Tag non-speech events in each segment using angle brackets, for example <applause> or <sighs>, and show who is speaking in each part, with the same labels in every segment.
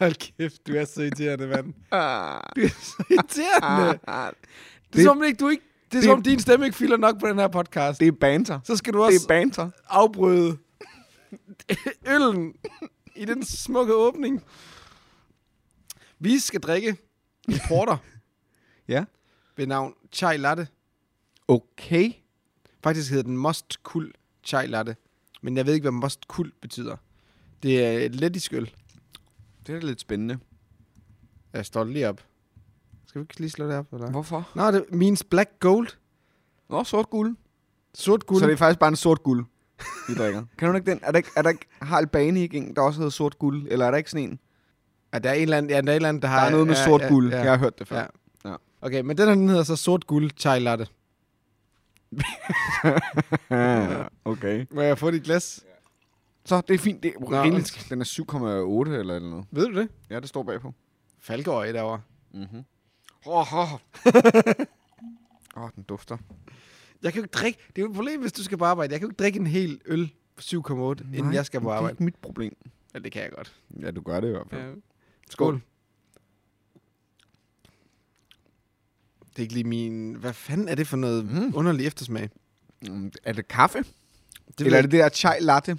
Speaker 1: Hold kæft, du er så irriterende, mand.
Speaker 2: Ah,
Speaker 1: Du er så irriterende.
Speaker 2: ah, ah.
Speaker 1: Det er som, om, ikke, du ikke, det er
Speaker 2: Det-
Speaker 1: som, om, din stemme ikke fylder nok på den her podcast.
Speaker 2: Det er banter.
Speaker 1: Så skal du
Speaker 2: Det er
Speaker 1: også
Speaker 2: banter.
Speaker 1: afbryde <laughs> øllen i den smukke åbning. Vi skal drikke en porter
Speaker 2: <laughs> Ja.
Speaker 1: ved navn Chai Latte.
Speaker 2: Okay.
Speaker 1: Faktisk hedder den Most Kul Chai Latte. Men jeg ved ikke, hvad Most Kul betyder. Det er et lettisk øl.
Speaker 2: Det er da lidt spændende.
Speaker 1: Jeg står lige op. Skal vi ikke lige slå det op? Eller?
Speaker 2: Hvorfor?
Speaker 1: Nå, det means black gold.
Speaker 2: Nå, sort guld.
Speaker 1: Sort guld.
Speaker 2: Så det er faktisk bare en sort guld, vi drikker. kan du ikke den? Er der ikke, er der ikke har Albani ikke en, der også hedder sort guld? Eller er der ikke sådan en?
Speaker 1: Ja, der er en eller anden, ja, der er, en eller anden, der
Speaker 2: Der
Speaker 1: har...
Speaker 2: er noget med
Speaker 1: ja,
Speaker 2: sort
Speaker 1: ja,
Speaker 2: guld.
Speaker 1: Ja,
Speaker 2: Jeg har hørt det før.
Speaker 1: Ja.
Speaker 2: Ja.
Speaker 1: Okay, men den her, den hedder så sort guld chai latte.
Speaker 2: Ja. okay.
Speaker 1: Må jeg få dit glas?
Speaker 2: Så det er fint. Det er
Speaker 1: Nå,
Speaker 2: rigeligt. Den er 7,8 eller eller noget.
Speaker 1: Ved du det?
Speaker 2: Ja, det står bagpå.
Speaker 1: Falkeøje derovre.
Speaker 2: Mhm. Åh, oh, oh. den dufter.
Speaker 1: Jeg kan jo ikke drikke... Det er jo et problem, hvis du skal på arbejde. Jeg kan jo ikke drikke en hel øl på 7,8, inden jeg skal på
Speaker 2: Det er
Speaker 1: arbejde.
Speaker 2: ikke mit problem.
Speaker 1: Ja, det kan jeg godt.
Speaker 2: Ja, du gør det i hvert fald. Ja.
Speaker 1: Skål. Det er ikke lige min... Hvad fanden er det for noget mm.
Speaker 2: Mm.
Speaker 1: underlig eftersmag?
Speaker 2: Er det kaffe?
Speaker 1: Det
Speaker 2: Det eller er det det der chai latte?
Speaker 1: Der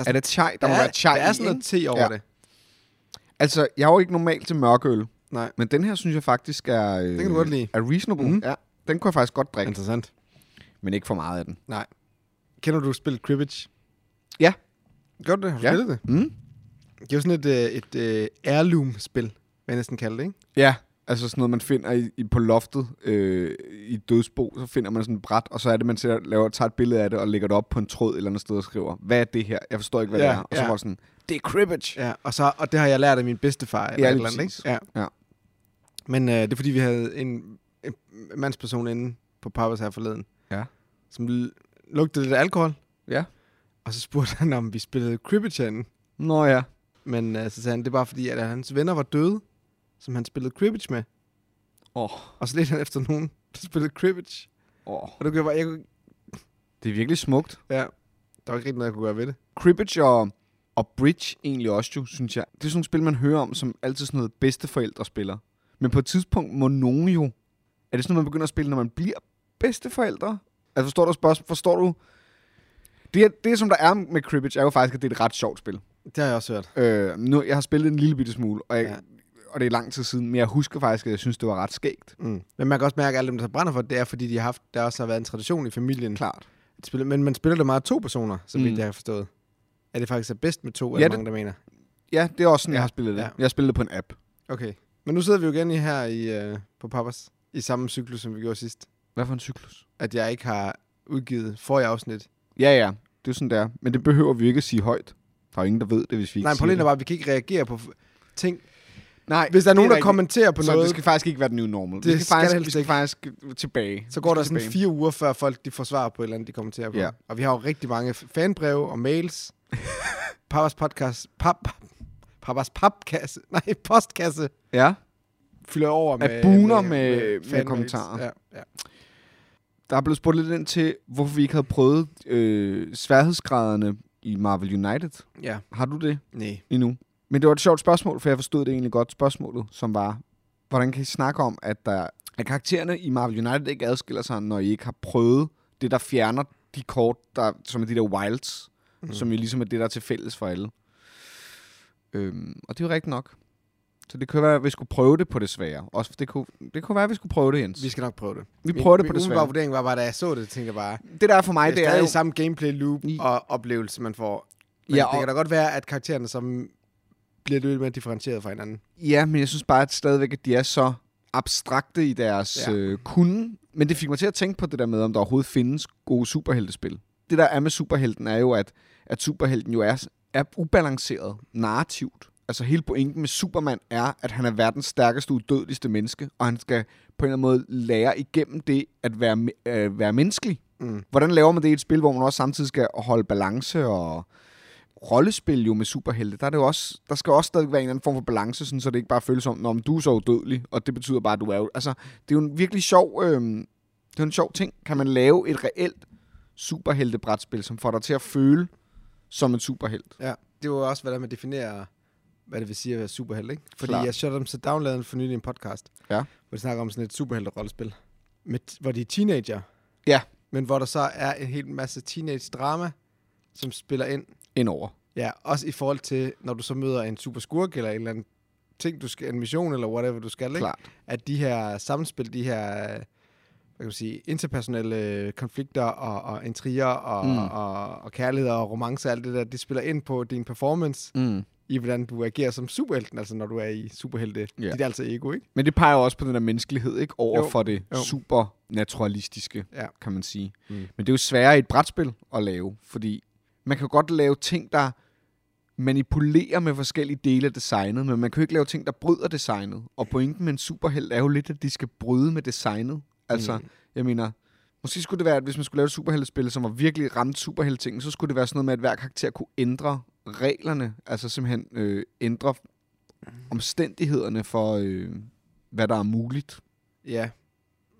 Speaker 1: er
Speaker 2: er,
Speaker 1: sådan-
Speaker 2: det chai? Der,
Speaker 1: der
Speaker 2: må
Speaker 1: er,
Speaker 2: være chai
Speaker 1: Der er
Speaker 2: i,
Speaker 1: sådan noget
Speaker 2: ikke?
Speaker 1: te over ja.
Speaker 2: Ja.
Speaker 1: det.
Speaker 2: Altså, jeg er jo ikke normalt til mørkøl.
Speaker 1: Nej.
Speaker 2: Men den her synes jeg faktisk er... Øh, den
Speaker 1: kan du godt lide.
Speaker 2: Er reasonable.
Speaker 1: Mhm.
Speaker 2: Mm. Ja, den kunne jeg faktisk godt drikke.
Speaker 1: Interessant.
Speaker 2: Men ikke for meget af den.
Speaker 1: Nej. Kender du spillet cribbage?
Speaker 2: Ja.
Speaker 1: Gør du det? Har du
Speaker 2: Ja.
Speaker 1: spillet det?
Speaker 2: Mm?
Speaker 1: Det er jo sådan et, øh, et øh, heirloom-spil, vil jeg næsten kalde det, ikke?
Speaker 2: Ja, altså sådan noget, man finder i, i, på loftet øh, i et dødsbo. Så finder man sådan et bræt, og så er det, man sætter, laver, tager et billede af det og lægger det op på en tråd et eller andet sted og skriver, hvad er det her? Jeg forstår ikke, hvad
Speaker 1: Ja,
Speaker 2: det er. Og så
Speaker 1: ja.
Speaker 2: var det sådan, det er cribbage.
Speaker 1: Ja, og, så, og det har jeg lært af min bedstefar. Eller
Speaker 2: Ja,
Speaker 1: et
Speaker 2: lige
Speaker 1: eller andet, ikke?
Speaker 2: præcis.
Speaker 1: Ja.
Speaker 2: Ja.
Speaker 1: Men øh, det er fordi, vi havde en, en mandsperson inde på Pappas her forleden,
Speaker 2: Ja.
Speaker 1: som l- lugtede lidt af alkohol,
Speaker 2: Ja.
Speaker 1: og så spurgte han, om vi spillede cribbage herinde.
Speaker 2: Nå ja.
Speaker 1: Men øh, så sagde han, det er bare fordi, at hans venner var døde, som han spillede cribbage med.
Speaker 2: Åh,
Speaker 1: Og så ledte han efter nogen, der spillede cribbage.
Speaker 2: oh,
Speaker 1: Og det kunne jeg bare, jeg kunne,
Speaker 2: det er virkelig smukt.
Speaker 1: ja, der var ikke rigtig noget, jeg kunne gøre ved det.
Speaker 2: cribbage og, og bridge egentlig også jo, synes jeg. Det er sådan nogle spil, man hører om, som altid sådan noget bedsteforældre spiller. Men på et tidspunkt må nogen jo... Er det sådan noget, man begynder at spille, når man bliver bedsteforældre? Altså forstår du spørgsmålet? Forstår du... Det, det, som der er med cribbage, er jo faktisk, at det er et ret sjovt spil.
Speaker 1: Det har jeg også hørt.
Speaker 2: Øh, nu, jeg har spillet en lille bitte smule, og, jeg,
Speaker 1: Ja.
Speaker 2: ja. og det er lang tid siden, men jeg husker faktisk, at jeg synes, det var ret skægt.
Speaker 1: Mm. Men man kan også mærke, at alle dem, der brænder for det, det er, fordi de har haft, der også har været en tradition i familien.
Speaker 2: Klart.
Speaker 1: At spille- Men man spiller det meget to personer, så vidt
Speaker 2: Mm.
Speaker 1: jeg har forstået. Er det faktisk er bedst med to,
Speaker 2: Ja,
Speaker 1: ja, er
Speaker 2: det-
Speaker 1: mange, der mener?
Speaker 2: Ja, det er også sådan,
Speaker 1: Ja.
Speaker 2: ja. jeg har spillet det.
Speaker 1: Ja.
Speaker 2: Ja. Jeg har spillet det på en app.
Speaker 1: Okay. Men nu sidder vi jo igen i her i, øh, på Pappas, i samme cyklus, som vi gjorde sidst.
Speaker 2: Hvad for en cyklus?
Speaker 1: At jeg ikke har udgivet forrige afsnit.
Speaker 2: Ja, ja. Det er jo sådan, det er. Men det behøver vi jo ikke at sige højt. Der er jo ingen, der ved det, hvis vi ikke
Speaker 1: Nej,
Speaker 2: siger
Speaker 1: problemet
Speaker 2: det.
Speaker 1: er bare, at vi kan ikke reagere på f- ting.
Speaker 2: Nej,
Speaker 1: Hvis der er
Speaker 2: det
Speaker 1: nogen, der
Speaker 2: rigtigt.
Speaker 1: kommenterer på
Speaker 2: så
Speaker 1: noget,
Speaker 2: det skal faktisk ikke være den nye normal. Det
Speaker 1: Det
Speaker 2: vi skal,
Speaker 1: skal det
Speaker 2: faktisk,
Speaker 1: helst
Speaker 2: vi skal
Speaker 1: ikke.
Speaker 2: faktisk tilbage.
Speaker 1: så går
Speaker 2: Vi
Speaker 1: der
Speaker 2: skal
Speaker 1: sådan fire uger, før folk de får svar på et eller andet, de kommenterer på.
Speaker 2: Ja.
Speaker 1: Og vi har jo rigtig mange f- fanbreve og
Speaker 2: <laughs>
Speaker 1: mails. Pappas podcast... Pap, Pappas papkasse. <laughs> Nej, postkasse.
Speaker 2: Ja,
Speaker 1: fylder over med...
Speaker 2: At buner med- med
Speaker 1: fanmails.
Speaker 2: kommentarer.
Speaker 1: Ja, ja.
Speaker 2: der er blevet spurgt lidt ind til, hvorfor vi ikke havde prøvet øh, sværhedsgraderne i Marvel United.
Speaker 1: ja.
Speaker 2: Har du det
Speaker 1: Nej.
Speaker 2: endnu? Men det var et sjovt spørgsmål, for jeg forstod det egentlig godt, spørgsmålet, som var, hvordan kan I snakke om, at, der, at karaktererne i Marvel United ikke adskiller sig, når I ikke har prøvet det, der fjerner de kort, der, som er de der wilds,
Speaker 1: Mm.
Speaker 2: mm. som jo ligesom er det, der er til fælles for alle. Øhm, og det er jo rigtigt nok. Så det kunne være, at vi skulle prøve det på det svære. Også det, kunne, det kunne være, at vi skulle prøve det, Jens.
Speaker 1: Vi skal nok prøve det.
Speaker 2: Vi prøver det på
Speaker 1: Min
Speaker 2: det
Speaker 1: umiddelbare
Speaker 2: svære.
Speaker 1: vurdering var bare, da jeg så det, tænkte jeg bare,
Speaker 2: Det der er for mig,
Speaker 1: det
Speaker 2: det
Speaker 1: er
Speaker 2: er jo...
Speaker 1: stadig samme gameplay loop
Speaker 2: I-
Speaker 1: og oplevelse, man får. Men
Speaker 2: Ja,
Speaker 1: ja, det
Speaker 2: og-
Speaker 1: kan da godt være, at karaktererne som bliver lidt mere differentieret fra hinanden.
Speaker 2: Ja, men jeg synes bare at stadigvæk, at de er så abstrakte i deres
Speaker 1: Ja.
Speaker 2: ja. øh, kunde. Men det fik mig til at tænke på det der med, om der overhovedet findes gode superheltespil. Det der er med superhelten er jo, at, at superhelten jo er, er ubalanceret narrativt. Altså hele pointen med Superman er, at han er verdens stærkeste, udødeligste menneske, og han skal på en eller anden måde lære igennem det at være, me- øh, være menneskelig.
Speaker 1: Mm.
Speaker 2: Hvordan laver man det i et spil, hvor man også samtidig skal holde balance og rollespil jo med superhelte, der, er det jo også, der skal også stadig være en eller anden form for balance, sådan, så det ikke bare føles som, om du er så udødelig, og det betyder bare, at du er jo... Altså, det er jo en virkelig sjov, øh, det er en sjov ting. Kan man lave et reelt superheltebrætspil, som får dig til at føle som en superhelt?
Speaker 1: Ja, det var også, hvordan man definerer, hvad det vil sige at være superhelt, ikke? Fordi
Speaker 2: Klart.
Speaker 1: Klar. jeg shut dem så down lavede for nylig en podcast,
Speaker 2: Ja.
Speaker 1: hvor de snakker om sådan et superhelte-rollespil, med, hvor de er teenager,
Speaker 2: Ja.
Speaker 1: men hvor der så er en hel masse teenage-drama, som spiller ind.
Speaker 2: Indover.
Speaker 1: Ja, også i forhold til, når du så møder en super skurk eller en eller anden ting, du skal, en mission eller whatever du skal, ikke?
Speaker 2: Klart.
Speaker 1: at de her samspil, de her øh, hvad kan man sige, interpersonelle øh, konflikter og, og intriger og,
Speaker 2: Mm.
Speaker 1: mm. og, og kærlighed og romance og alt det der, det spiller ind på din performance
Speaker 2: Mm.
Speaker 1: i, hvordan du agerer som superhelten, altså når du er i superhelte.
Speaker 2: Ja.
Speaker 1: Yeah. Dit altså ego, ikke?
Speaker 2: Men det peger jo også på den der menneskelighed, ikke? Over jo.
Speaker 1: Jo,
Speaker 2: for det jo.
Speaker 1: jo.
Speaker 2: supernaturalistiske, ja.
Speaker 1: Ja.
Speaker 2: kan man sige. Mm.
Speaker 1: Mm.
Speaker 2: Men det er jo sværere i et brætspil at lave, fordi man kan jo godt lave ting, der manipulerer med forskellige dele af designet, men man kan jo ikke lave ting, der bryder designet. Og pointen med en superheld er jo lidt, at de skal bryde med designet. Altså, mm. jeg mener, måske skulle det være, at hvis man skulle lave et superheltespil, som var virkelig ramt superheltingen, så skulle det være sådan noget med, at hver karakter kunne ændre reglerne, altså simpelthen øh, ændre omstændighederne for, øh, hvad der er muligt.
Speaker 1: Ja.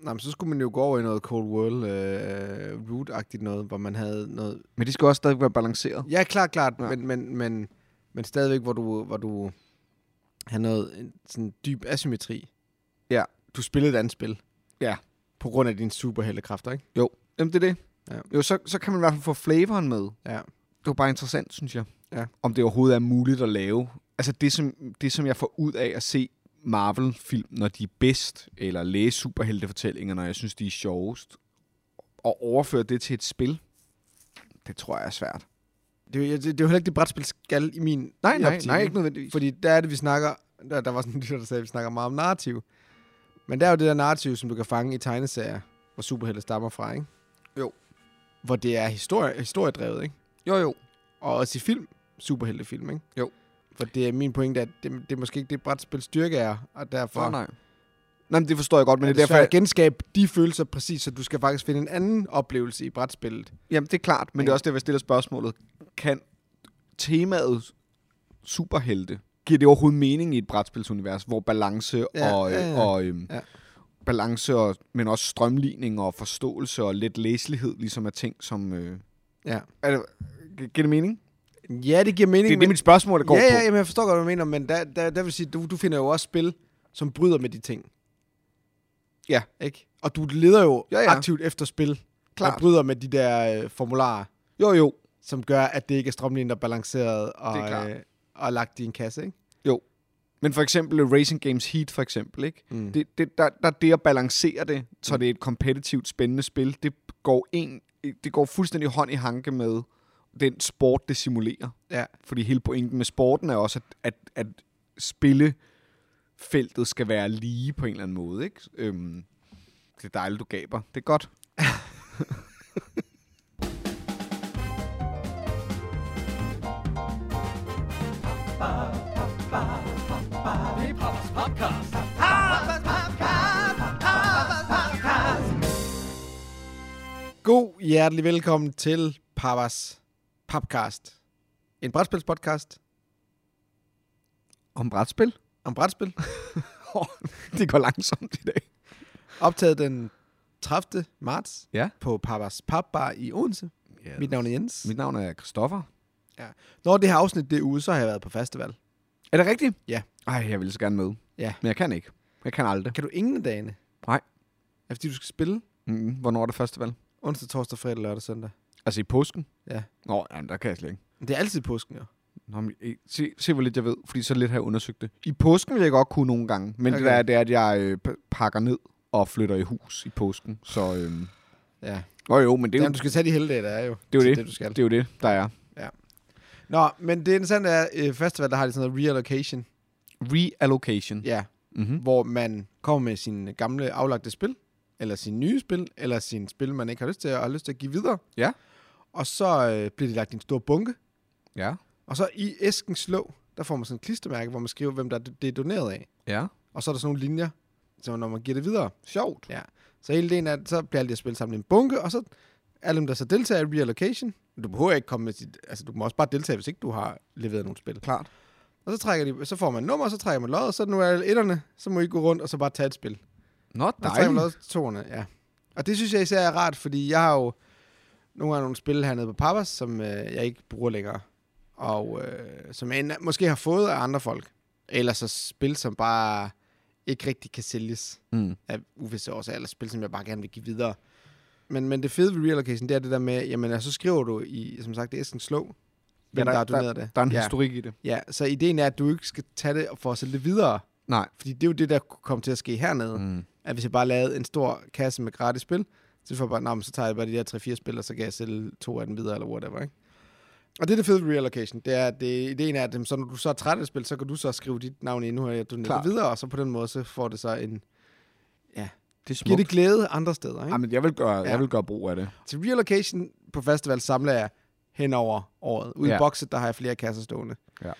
Speaker 1: Nå, men så skulle man jo gå over i noget Cold World øh, root-agtigt noget, hvor man havde noget...
Speaker 2: Men det skal også stadig være balanceret.
Speaker 1: Ja, klart, klart,
Speaker 2: Ja.
Speaker 1: ja. Men, men, men, men stadigvæk, hvor du, hvor du havde noget en, sådan dyb asymmetri.
Speaker 2: Ja.
Speaker 1: Du spillede et andet spil.
Speaker 2: Ja.
Speaker 1: På grund af dine superheltekræfter, ikke?
Speaker 2: Jo, Jamen, det er det.
Speaker 1: Ja.
Speaker 2: Jo, så, så kan man i hvert fald få flavoren med.
Speaker 1: Ja.
Speaker 2: Det var bare interessant, synes jeg.
Speaker 1: Ja.
Speaker 2: Om det overhovedet er muligt at lave. Altså det som, det, som jeg får ud af at se Marvel-film, når de er bedst, eller læse superheltefortællinger, når jeg synes, de er sjovest, og overføre det til et spil, det tror jeg er svært.
Speaker 1: Det, er jo- det, det er jo heller ikke det brætspil skal i min
Speaker 2: Nej,
Speaker 1: i
Speaker 2: nej,
Speaker 1: optik,
Speaker 2: nej,
Speaker 1: ikke?
Speaker 2: ikke nødvendigvis.
Speaker 1: Fordi der er det, vi snakker... Der, der var sådan en lytter, der sagde, at vi snakker meget om narrativ. Men der er jo det der narrativ, som du kan fange i tegneserier, hvor superhelte stammer fra, ikke?
Speaker 2: Jo.
Speaker 1: Hvor det er historie, historiedrevet, ikke?
Speaker 2: Jo, jo.
Speaker 1: Og også i film, superheltefilm, ikke?
Speaker 2: Jo.
Speaker 1: For det er min pointe, at det, det er måske ikke det brætspil styrke er, og derfor...
Speaker 2: For nej. Nej, men det forstår jeg godt, men
Speaker 1: Men
Speaker 2: det er derfor,
Speaker 1: svært at genskabe de følelser præcis, så du skal faktisk finde en anden oplevelse i brætspillet.
Speaker 2: Jamen, det er klart, men det er også det, jeg stiller spørgsmålet. Kan temaet superhelte, giver det overhovedet mening i et brætspilsunivers, hvor balance
Speaker 1: Ja,
Speaker 2: og, øh,
Speaker 1: ja, ja.
Speaker 2: og øhm,
Speaker 1: Ja.
Speaker 2: balance og, men også strømligning og forståelse og let læselighed, ligesom er ting, som... Øh,
Speaker 1: Ja.
Speaker 2: er det, gi- giver det mening?
Speaker 1: Ja, det giver mening,
Speaker 2: Det er
Speaker 1: men-
Speaker 2: det, mit spørgsmål der går
Speaker 1: ja, ja,
Speaker 2: på.
Speaker 1: jamen, jeg forstår godt, hvad du mener, men der, der, der vil sige, du, du finder jo også spil, som bryder med de ting.
Speaker 2: Ja.
Speaker 1: Ikke? Og du leder jo
Speaker 2: Ja,
Speaker 1: ja,
Speaker 2: ja.
Speaker 1: ja. aktivt efter spil,
Speaker 2: Klart.
Speaker 1: Klart. og bryder med de der øh, formularer,
Speaker 2: Jo, jo.
Speaker 1: som gør, at det ikke er strømlignet og balanceret og,
Speaker 2: Det er klart.
Speaker 1: øh, og lagt i en kasse. Ikke?
Speaker 2: Men for eksempel Racing Games Heat, for eksempel, ikke?
Speaker 1: Mm.
Speaker 2: Det, det, der, der er det at balancere det, så det er et kompetitivt spændende spil. Det går, en, det går fuldstændig hånd i hanke med den sport, det simulerer.
Speaker 1: Ja.
Speaker 2: Fordi hele pointen med sporten er også, at, at, at spillefeltet skal være lige på en eller anden måde. Ikke? Øhm, det er dejligt, du gaber. Det er godt.
Speaker 1: God hjertelig velkommen til Papas Papcast. En brætspilspodcast
Speaker 2: Om brætspil?
Speaker 1: om brætspil,
Speaker 2: <laughs> det går langsomt i dag.
Speaker 1: optaget den 30. marts
Speaker 2: Ja.
Speaker 1: på Papas Papbar i Odense.
Speaker 2: Yes.
Speaker 1: Mit navn er Jens.
Speaker 2: Mit navn er Christoffer.
Speaker 1: Når det her afsnit det er ude, så har jeg været på festival.
Speaker 2: Er det rigtigt?
Speaker 1: Ja.
Speaker 2: Ej, jeg ville så gerne med.
Speaker 1: Ja.
Speaker 2: Men jeg kan ikke. Jeg kan aldrig.
Speaker 1: Kan du ingen af dagene?
Speaker 2: Nej.
Speaker 1: Er det, fordi, du skal spille
Speaker 2: Mm, hvornår er det festival?
Speaker 1: onsdag, torsdag, fredag, lørdag, søndag?
Speaker 2: Altså i påsken?
Speaker 1: Ja.
Speaker 2: Nå, jamen, der kan jeg slet ikke.
Speaker 1: Men Det er altid påsken, jo.
Speaker 2: Nå, men, eh, se, se, hvor lidt jeg ved, fordi så lidt har jeg undersøgt det. I påsken vil jeg godt kunne nogle gange, men okay. det
Speaker 1: Okay.
Speaker 2: der er, det er, at jeg øh, p- pakker ned og flytter i hus i påsken. Så, øhm,
Speaker 1: Ja.
Speaker 2: Nå jo, men det er jo
Speaker 1: Jamen, du skal tage de hele dage, der er jo.
Speaker 2: det, er jo
Speaker 1: Så
Speaker 2: det.
Speaker 1: det, du skal.
Speaker 2: det, er jo det, der er.
Speaker 1: Nå, men det interessante er, øh, festival, der har de sådan noget reallocation.
Speaker 2: Reallocation.
Speaker 1: Ja.
Speaker 2: Mm-hmm.
Speaker 1: Hvor man kommer med sine gamle aflagte spil, eller sine nye spil, eller sine spil, man ikke har lyst til, og har lyst til at give videre.
Speaker 2: Ja.
Speaker 1: Og så øh, bliver det lagt i en stor bunke.
Speaker 2: Ja.
Speaker 1: Og så i æsken slå, der får man sådan et klistermærke, hvor man skriver, hvem der er- det er doneret af.
Speaker 2: Ja.
Speaker 1: Og så er der sådan nogle linjer, så når man giver det videre.
Speaker 2: Sjovt.
Speaker 1: Ja. Så hele delen af det, så bliver alle de her spil sammen i en bunke, og så alle dem, der så deltager i reallocation, du behøver ikke komme med sit, altså du må også bare deltage, hvis ikke du har leveret nogle spil.
Speaker 2: Klart.
Speaker 1: Og så, trækker de, så får man nummer, og så trækker man lod, og så nu er alle etterne, så må I gå rundt og så bare tage et spil.
Speaker 2: Nå,
Speaker 1: Og så trækker man
Speaker 2: dejligt.
Speaker 1: lod til toerne, ja. Og det synes jeg især er rart, fordi jeg har jo nogle gange nogle spil hernede på Pappas, som øh, jeg ikke bruger længere. og øh, som en, måske har fået af andre folk. Eller så spil, som bare ikke rigtig kan sælges
Speaker 2: Mm.
Speaker 1: af uvisse årsager, eller spil, som jeg bare gerne vil give videre. Men, men det fede ved reallocation, det er det der med, jamen, altså, så skriver du i, som sagt, æsken slå, hvem ja, der, der har doneret det.
Speaker 2: Der er en
Speaker 1: ja.
Speaker 2: historik i det.
Speaker 1: Ja, så ideen er, at du ikke skal tage det for at sælge det videre.
Speaker 2: Nej.
Speaker 1: Fordi det er jo det, der kunne komme til at ske hernede. Mm.
Speaker 2: Mm.
Speaker 1: At hvis jeg bare lavede en stor kasse med gratis spil, så får jeg bare, "Nå, men så tager jeg bare de der 3-4 spil, og så kan jeg sælge to af dem videre, eller whatever, ikke? Og det er det fede ved reallocation, det er, at det, ideen er, at jamen, så når du så er træt af et spil, så kan du så skrive dit navn ind, nu har jeg doneret
Speaker 2: Klart.
Speaker 1: det videre, og så på den måde, så får det så en...
Speaker 2: Det er
Speaker 1: Giver
Speaker 2: smukt.
Speaker 1: det glæde andre steder, ikke?
Speaker 2: Ej, men jeg vil, gøre,
Speaker 1: Ja.
Speaker 2: jeg vil gøre brug af det.
Speaker 1: Til reallocation på festival samler jeg hen over året. Ude ja. i
Speaker 2: Ja.
Speaker 1: bokset, der har jeg flere kasser stående.
Speaker 2: Ja.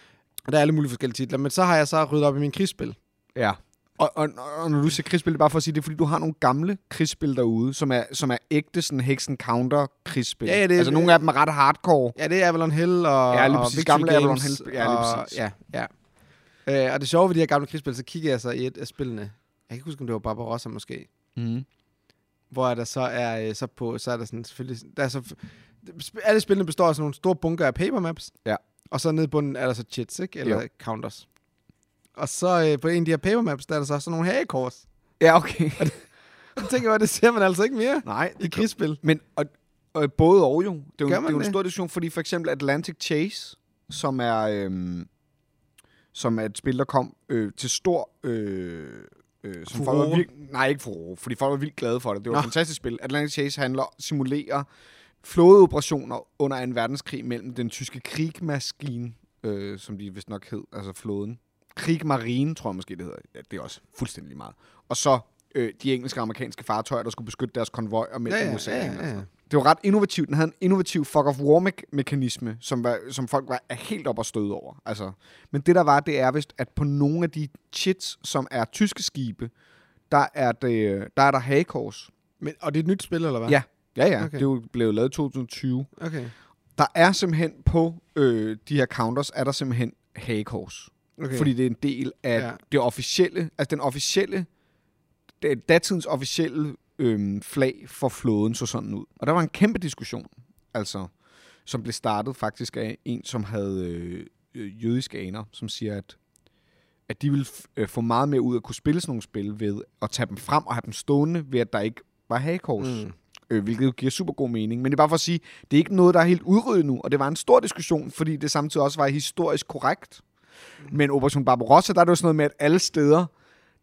Speaker 1: Og der er alle mulige forskellige titler, men så har jeg så ryddet op i min krigsspil.
Speaker 2: Ja. Og, og, og når du siger krigsspil, det er bare for at sige, det er fordi, du har nogle gamle krigsspil derude, som er, som er ægte sådan hexen counter krigsspil.
Speaker 1: Ja, ja, det er-
Speaker 2: altså nogle af dem er ret hardcore.
Speaker 1: Ja, det er Avalon Hill og
Speaker 2: Ja, lige
Speaker 1: og
Speaker 2: præcis.
Speaker 1: Victory
Speaker 2: Gamle Avalon
Speaker 1: Games
Speaker 2: Hill. Ja, lige
Speaker 1: og-
Speaker 2: præcis.
Speaker 1: Ja, ja. Øh, og det sjove ved de her gamle krigsspil, så kigger jeg så i et af spillene. Jeg kan ikke huske, om det var Barbarossa måske. Mhm.
Speaker 2: Mm.
Speaker 1: Hvor der så er øh, så på, så er der sådan selvfølgelig... Der er så, sp- alle spillene består af sådan nogle store bunker af paper maps.
Speaker 2: Ja.
Speaker 1: Og så nede i bunden er der så chits, ikke? Eller
Speaker 2: Jo.
Speaker 1: counters. Og så øh, på en af de her paper maps, der er der så sådan nogle hagekors.
Speaker 2: Ja, okay.
Speaker 1: Jeg tænker bare, det ser man altså ikke mere
Speaker 2: Nej,
Speaker 1: i krigsspil.
Speaker 2: Men og, og både og jo. Det er jo, det
Speaker 1: Gør
Speaker 2: er
Speaker 1: man
Speaker 2: jo en
Speaker 1: det?
Speaker 2: stor diskussion, fordi for eksempel Atlantic Chase, som er, øhm, som er et spil, der kom øh, til stor... Øh, øh, som folk var
Speaker 1: Furore?
Speaker 2: virk- nej, ikke furore, fordi folk var vildt glade for det. Det var
Speaker 1: Nå.
Speaker 2: et fantastisk spil. Atlantic Chase handler, simulerer flådeoperationer under 2. verdenskrig mellem den tyske krigmaskine, øh, som de vist nok hed, altså flåden. Krigmarine, tror jeg måske, det hedder. Ja, det er også fuldstændig lige meget. Og så øh, de engelske og amerikanske fartøjer, der skulle beskytte deres konvojer mellem ja, ja, USA og ja, ja. Det var ret innovativt. Den havde en innovativ fuck of war me- mekanisme, som, var, som folk var er helt op og støde over. Altså. Men det der var, det er vist, at på nogle af de chits, som er tyske skibe, der er, det, der, er der hagekors.
Speaker 1: Men, og det er et nyt spil, eller hvad?
Speaker 2: Ja, ja, ja.
Speaker 1: Okay.
Speaker 2: Okay. Det er jo blevet lavet i 2020.
Speaker 1: Okay.
Speaker 2: Der er simpelthen på øh, de her counters, er der simpelthen hagekors.
Speaker 1: okay.
Speaker 2: Okay. Fordi det er en del af
Speaker 1: Ja.
Speaker 2: ja. det officielle, altså den officielle, det- datidens officielle øhm, flag for flåden så sådan ud. Og der var en kæmpe diskussion, altså, som blev startet faktisk af en, som havde øh, øh, jødiske aner, som siger, at, at de ville f- øh, få meget mere ud af at kunne spille sådan nogle spil ved at tage dem frem og have dem stående, ved at der ikke var hagekors.
Speaker 1: Mm.
Speaker 2: Mm. Øh, hvilket jo giver super god mening. Men det er bare for at sige, det er ikke noget, der er helt udryddet nu. Og det var en stor diskussion, fordi det samtidig også var historisk korrekt. Men Operation Barbarossa, der er det jo sådan noget med, at alle steder,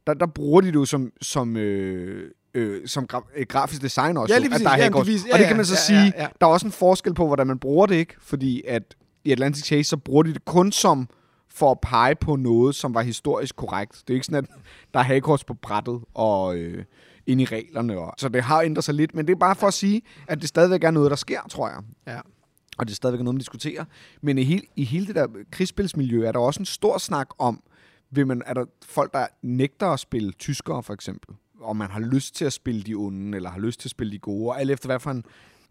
Speaker 2: der, der bruger de det jo som, som, øh, øh, som gra- øh, grafisk design også.
Speaker 1: Ja,
Speaker 2: jo,
Speaker 1: lige
Speaker 2: at
Speaker 1: præcis.
Speaker 2: der er
Speaker 1: Jamen, det
Speaker 2: hagekors.
Speaker 1: viser- ja,
Speaker 2: og det
Speaker 1: ja,
Speaker 2: kan man så
Speaker 1: ja,
Speaker 2: sige,
Speaker 1: ja, ja.
Speaker 2: der er også en forskel på, hvordan man bruger det, ikke? Fordi at i Atlantic Chase, så bruger de det kun som for at pege på noget, som var historisk korrekt. Det er ikke sådan, at der er hagekors på brættet og øh, ind i reglerne. Og, så det har ændret sig lidt, men det er bare for at sige, at det stadigvæk er noget, der sker, tror jeg
Speaker 1: Ja.
Speaker 2: og det er stadigvæk noget, man diskuterer. Men i hele, i hele det der krigsspilsmiljø er der også en stor snak om, vil man, er der folk, der nægter at spille tyskere, for eksempel, og man har lyst til at spille de onde, eller har lyst til at spille de gode, og alt efter hvad for en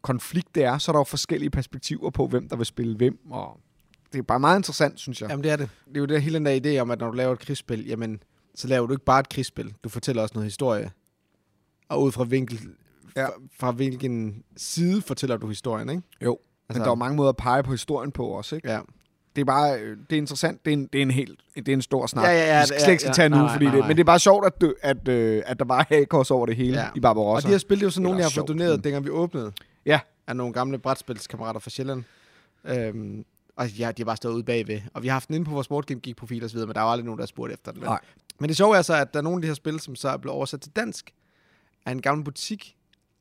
Speaker 2: konflikt det er, så er der jo forskellige perspektiver på, hvem der vil spille hvem, og det er bare meget interessant, synes jeg.
Speaker 1: Jamen, det er det. Det er jo det hele den der idé om, at når du laver et krigsspil, jamen, så laver du ikke bare et krigsspil. Du fortæller også noget historie. Og ud fra vinkel... Ja.
Speaker 2: Ja.
Speaker 1: Fra, fra hvilken side fortæller du historien, ikke?
Speaker 2: Jo, men
Speaker 1: Altså-
Speaker 2: der er jo mange måder at pege på historien på også, ikke?
Speaker 1: Ja.
Speaker 2: det er bare øh, det er interessant. Det er en, det er en helt det er en stor snak.
Speaker 1: Ja, ja, ja,
Speaker 2: vi skal
Speaker 1: det-
Speaker 2: slet ikke
Speaker 1: ja,
Speaker 2: skal tage
Speaker 1: nej,
Speaker 2: nu,
Speaker 1: nej,
Speaker 2: fordi
Speaker 1: nej,
Speaker 2: det,
Speaker 1: nej.
Speaker 2: men det er bare sjovt at dø, at, øh, at der bare er hagekors over det hele
Speaker 1: Ja.
Speaker 2: ja. i Barbarossa.
Speaker 1: Og de her spil, det er jo sådan nogle,
Speaker 2: Eller
Speaker 1: jeg har fået
Speaker 2: sjovt. Mm.
Speaker 1: doneret, dengang vi åbnede.
Speaker 2: Ja.
Speaker 1: Af nogle gamle brætspilskammerater fra Sjælland. Øhm, og ja, de har bare stået ude bagved. Og vi har haft den inde på vores Board Game Geek profil og så videre, men der var aldrig nogen, der har spurgt efter den. vel?
Speaker 2: Nej.
Speaker 1: Men det sjove er så, at der er nogle af de her spil, som så er blevet oversat til dansk, af en gammel butik,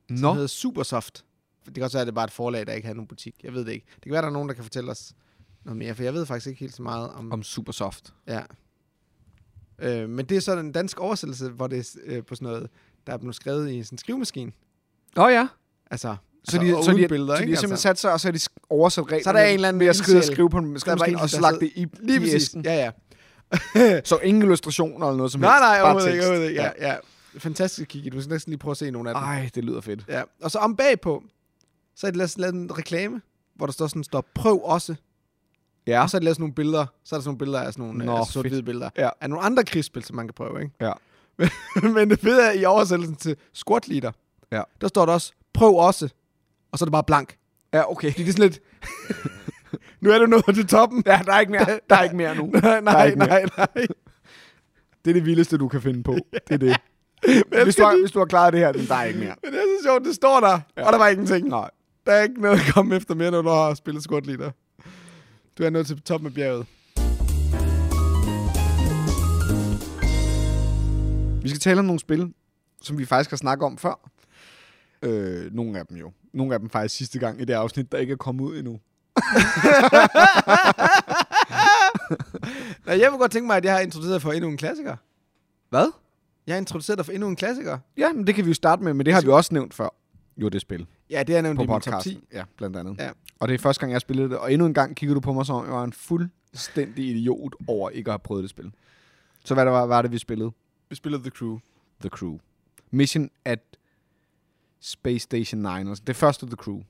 Speaker 2: Nå,
Speaker 1: Nå. hedder Supersoft. Det kan også være, at det er bare et forlag, der ikke har nogen butik. Jeg ved det ikke. Det kan være, der er nogen, der kan fortælle os noget mere, for jeg ved faktisk ikke helt så meget om...
Speaker 2: om Supersoft.
Speaker 1: Ja. Øh, men det er sådan en dansk oversættelse, hvor det er øh, på sådan noget, der er blevet skrevet i sådan en skrivemaskine.
Speaker 2: Åh oh, ja.
Speaker 1: Altså,
Speaker 2: Så
Speaker 1: altså,
Speaker 2: de,
Speaker 1: og
Speaker 2: så
Speaker 1: uden
Speaker 2: de,
Speaker 1: billeder,
Speaker 2: så de
Speaker 1: ikke? Altså,
Speaker 2: har simpelthen sat sig, og Altså. så har de sk- oversat reglerne.
Speaker 1: Så er der en eller anden
Speaker 2: ved at skrive, og
Speaker 1: ildsjæl.
Speaker 2: skrive på en skrivemaskine,
Speaker 1: en,
Speaker 2: og
Speaker 1: der
Speaker 2: slagt
Speaker 1: sidder-
Speaker 2: det i,
Speaker 1: Lige
Speaker 2: i
Speaker 1: præcis.
Speaker 2: æsken.
Speaker 1: Ja, ja.
Speaker 2: Så ingen illustrationer eller noget som
Speaker 1: Nej,
Speaker 2: helst.
Speaker 1: nej,
Speaker 2: bare
Speaker 1: overhovedet ikke,
Speaker 2: tekst.
Speaker 1: overhovedet ikke. Ja, ja. Fantastisk at kigge i. Du skal næsten lige prøve at se nogle af dem.
Speaker 2: Ej, det lyder fedt.
Speaker 1: Ja. Og så om bagpå, så er det lavet lavet en reklame, hvor der står sådan, står prøv også.
Speaker 2: Ja.
Speaker 1: Og så er der lavet sådan nogle billeder. Så er der sådan nogle billeder af sådan nogle
Speaker 2: Nå,
Speaker 1: Nå, altså, sort-hvide billeder.
Speaker 2: Ja.
Speaker 1: Af nogle andre krigsspil, som man kan prøve, ikke?
Speaker 2: Ja.
Speaker 1: <laughs> Men det fede er, i oversættelsen til Squad Leader,
Speaker 2: Ja.
Speaker 1: der står der også, prøv også. Og så er det bare blank.
Speaker 2: Ja, okay.
Speaker 1: Fordi det er sådan lidt... Nu er du nået til toppen.
Speaker 2: Ja, der er ikke
Speaker 1: <laughs>
Speaker 2: mere, der er ikke mere nu.
Speaker 1: nej,
Speaker 2: Der er
Speaker 1: nej,
Speaker 2: ikke mere.
Speaker 1: nej, nej.
Speaker 2: Det er det vildeste, du kan finde på. Det er <laughs> det.
Speaker 1: Men jeg
Speaker 2: Hvis du,
Speaker 1: skal
Speaker 2: har,
Speaker 1: lige-
Speaker 2: hvis du har klaret det her, den der er ikke mere.
Speaker 1: Men det er så sjovt, det står der, ja. og der var ingenting.
Speaker 2: Nej.
Speaker 1: Der er ikke noget at komme efter mere, når du har spillet squat leader. Du er nået til toppen af bjerget.
Speaker 2: Vi skal tale om nogle spil, som vi faktisk har snakket om før. Øh, nogle af dem jo. Nogle af dem faktisk sidste gang i det afsnit, der ikke er kommet ud endnu.
Speaker 1: Nej, jeg vil godt tænke mig, at jeg har introduceret dig for endnu en klassiker.
Speaker 2: Hvad?
Speaker 1: Jeg har introduceret dig for endnu en klassiker.
Speaker 2: Ja, men det kan vi jo starte med, men det har vi også nævnt før. Jo, det spil.
Speaker 1: Ja, det er nævnt
Speaker 2: På
Speaker 1: i min top 10.
Speaker 2: podcasten. Ja, blandt andet.
Speaker 1: Ja.
Speaker 2: Og det er første gang, jeg spillede det. Og endnu en gang kiggede du på mig, som om jeg var en fuldstændig idiot over ikke at have prøvet det spil. Så hvad der var, var det, vi spillede?
Speaker 1: Vi spiller The Crew.
Speaker 2: The Crew. Mission at Space Station 9. Altså det første The Crew.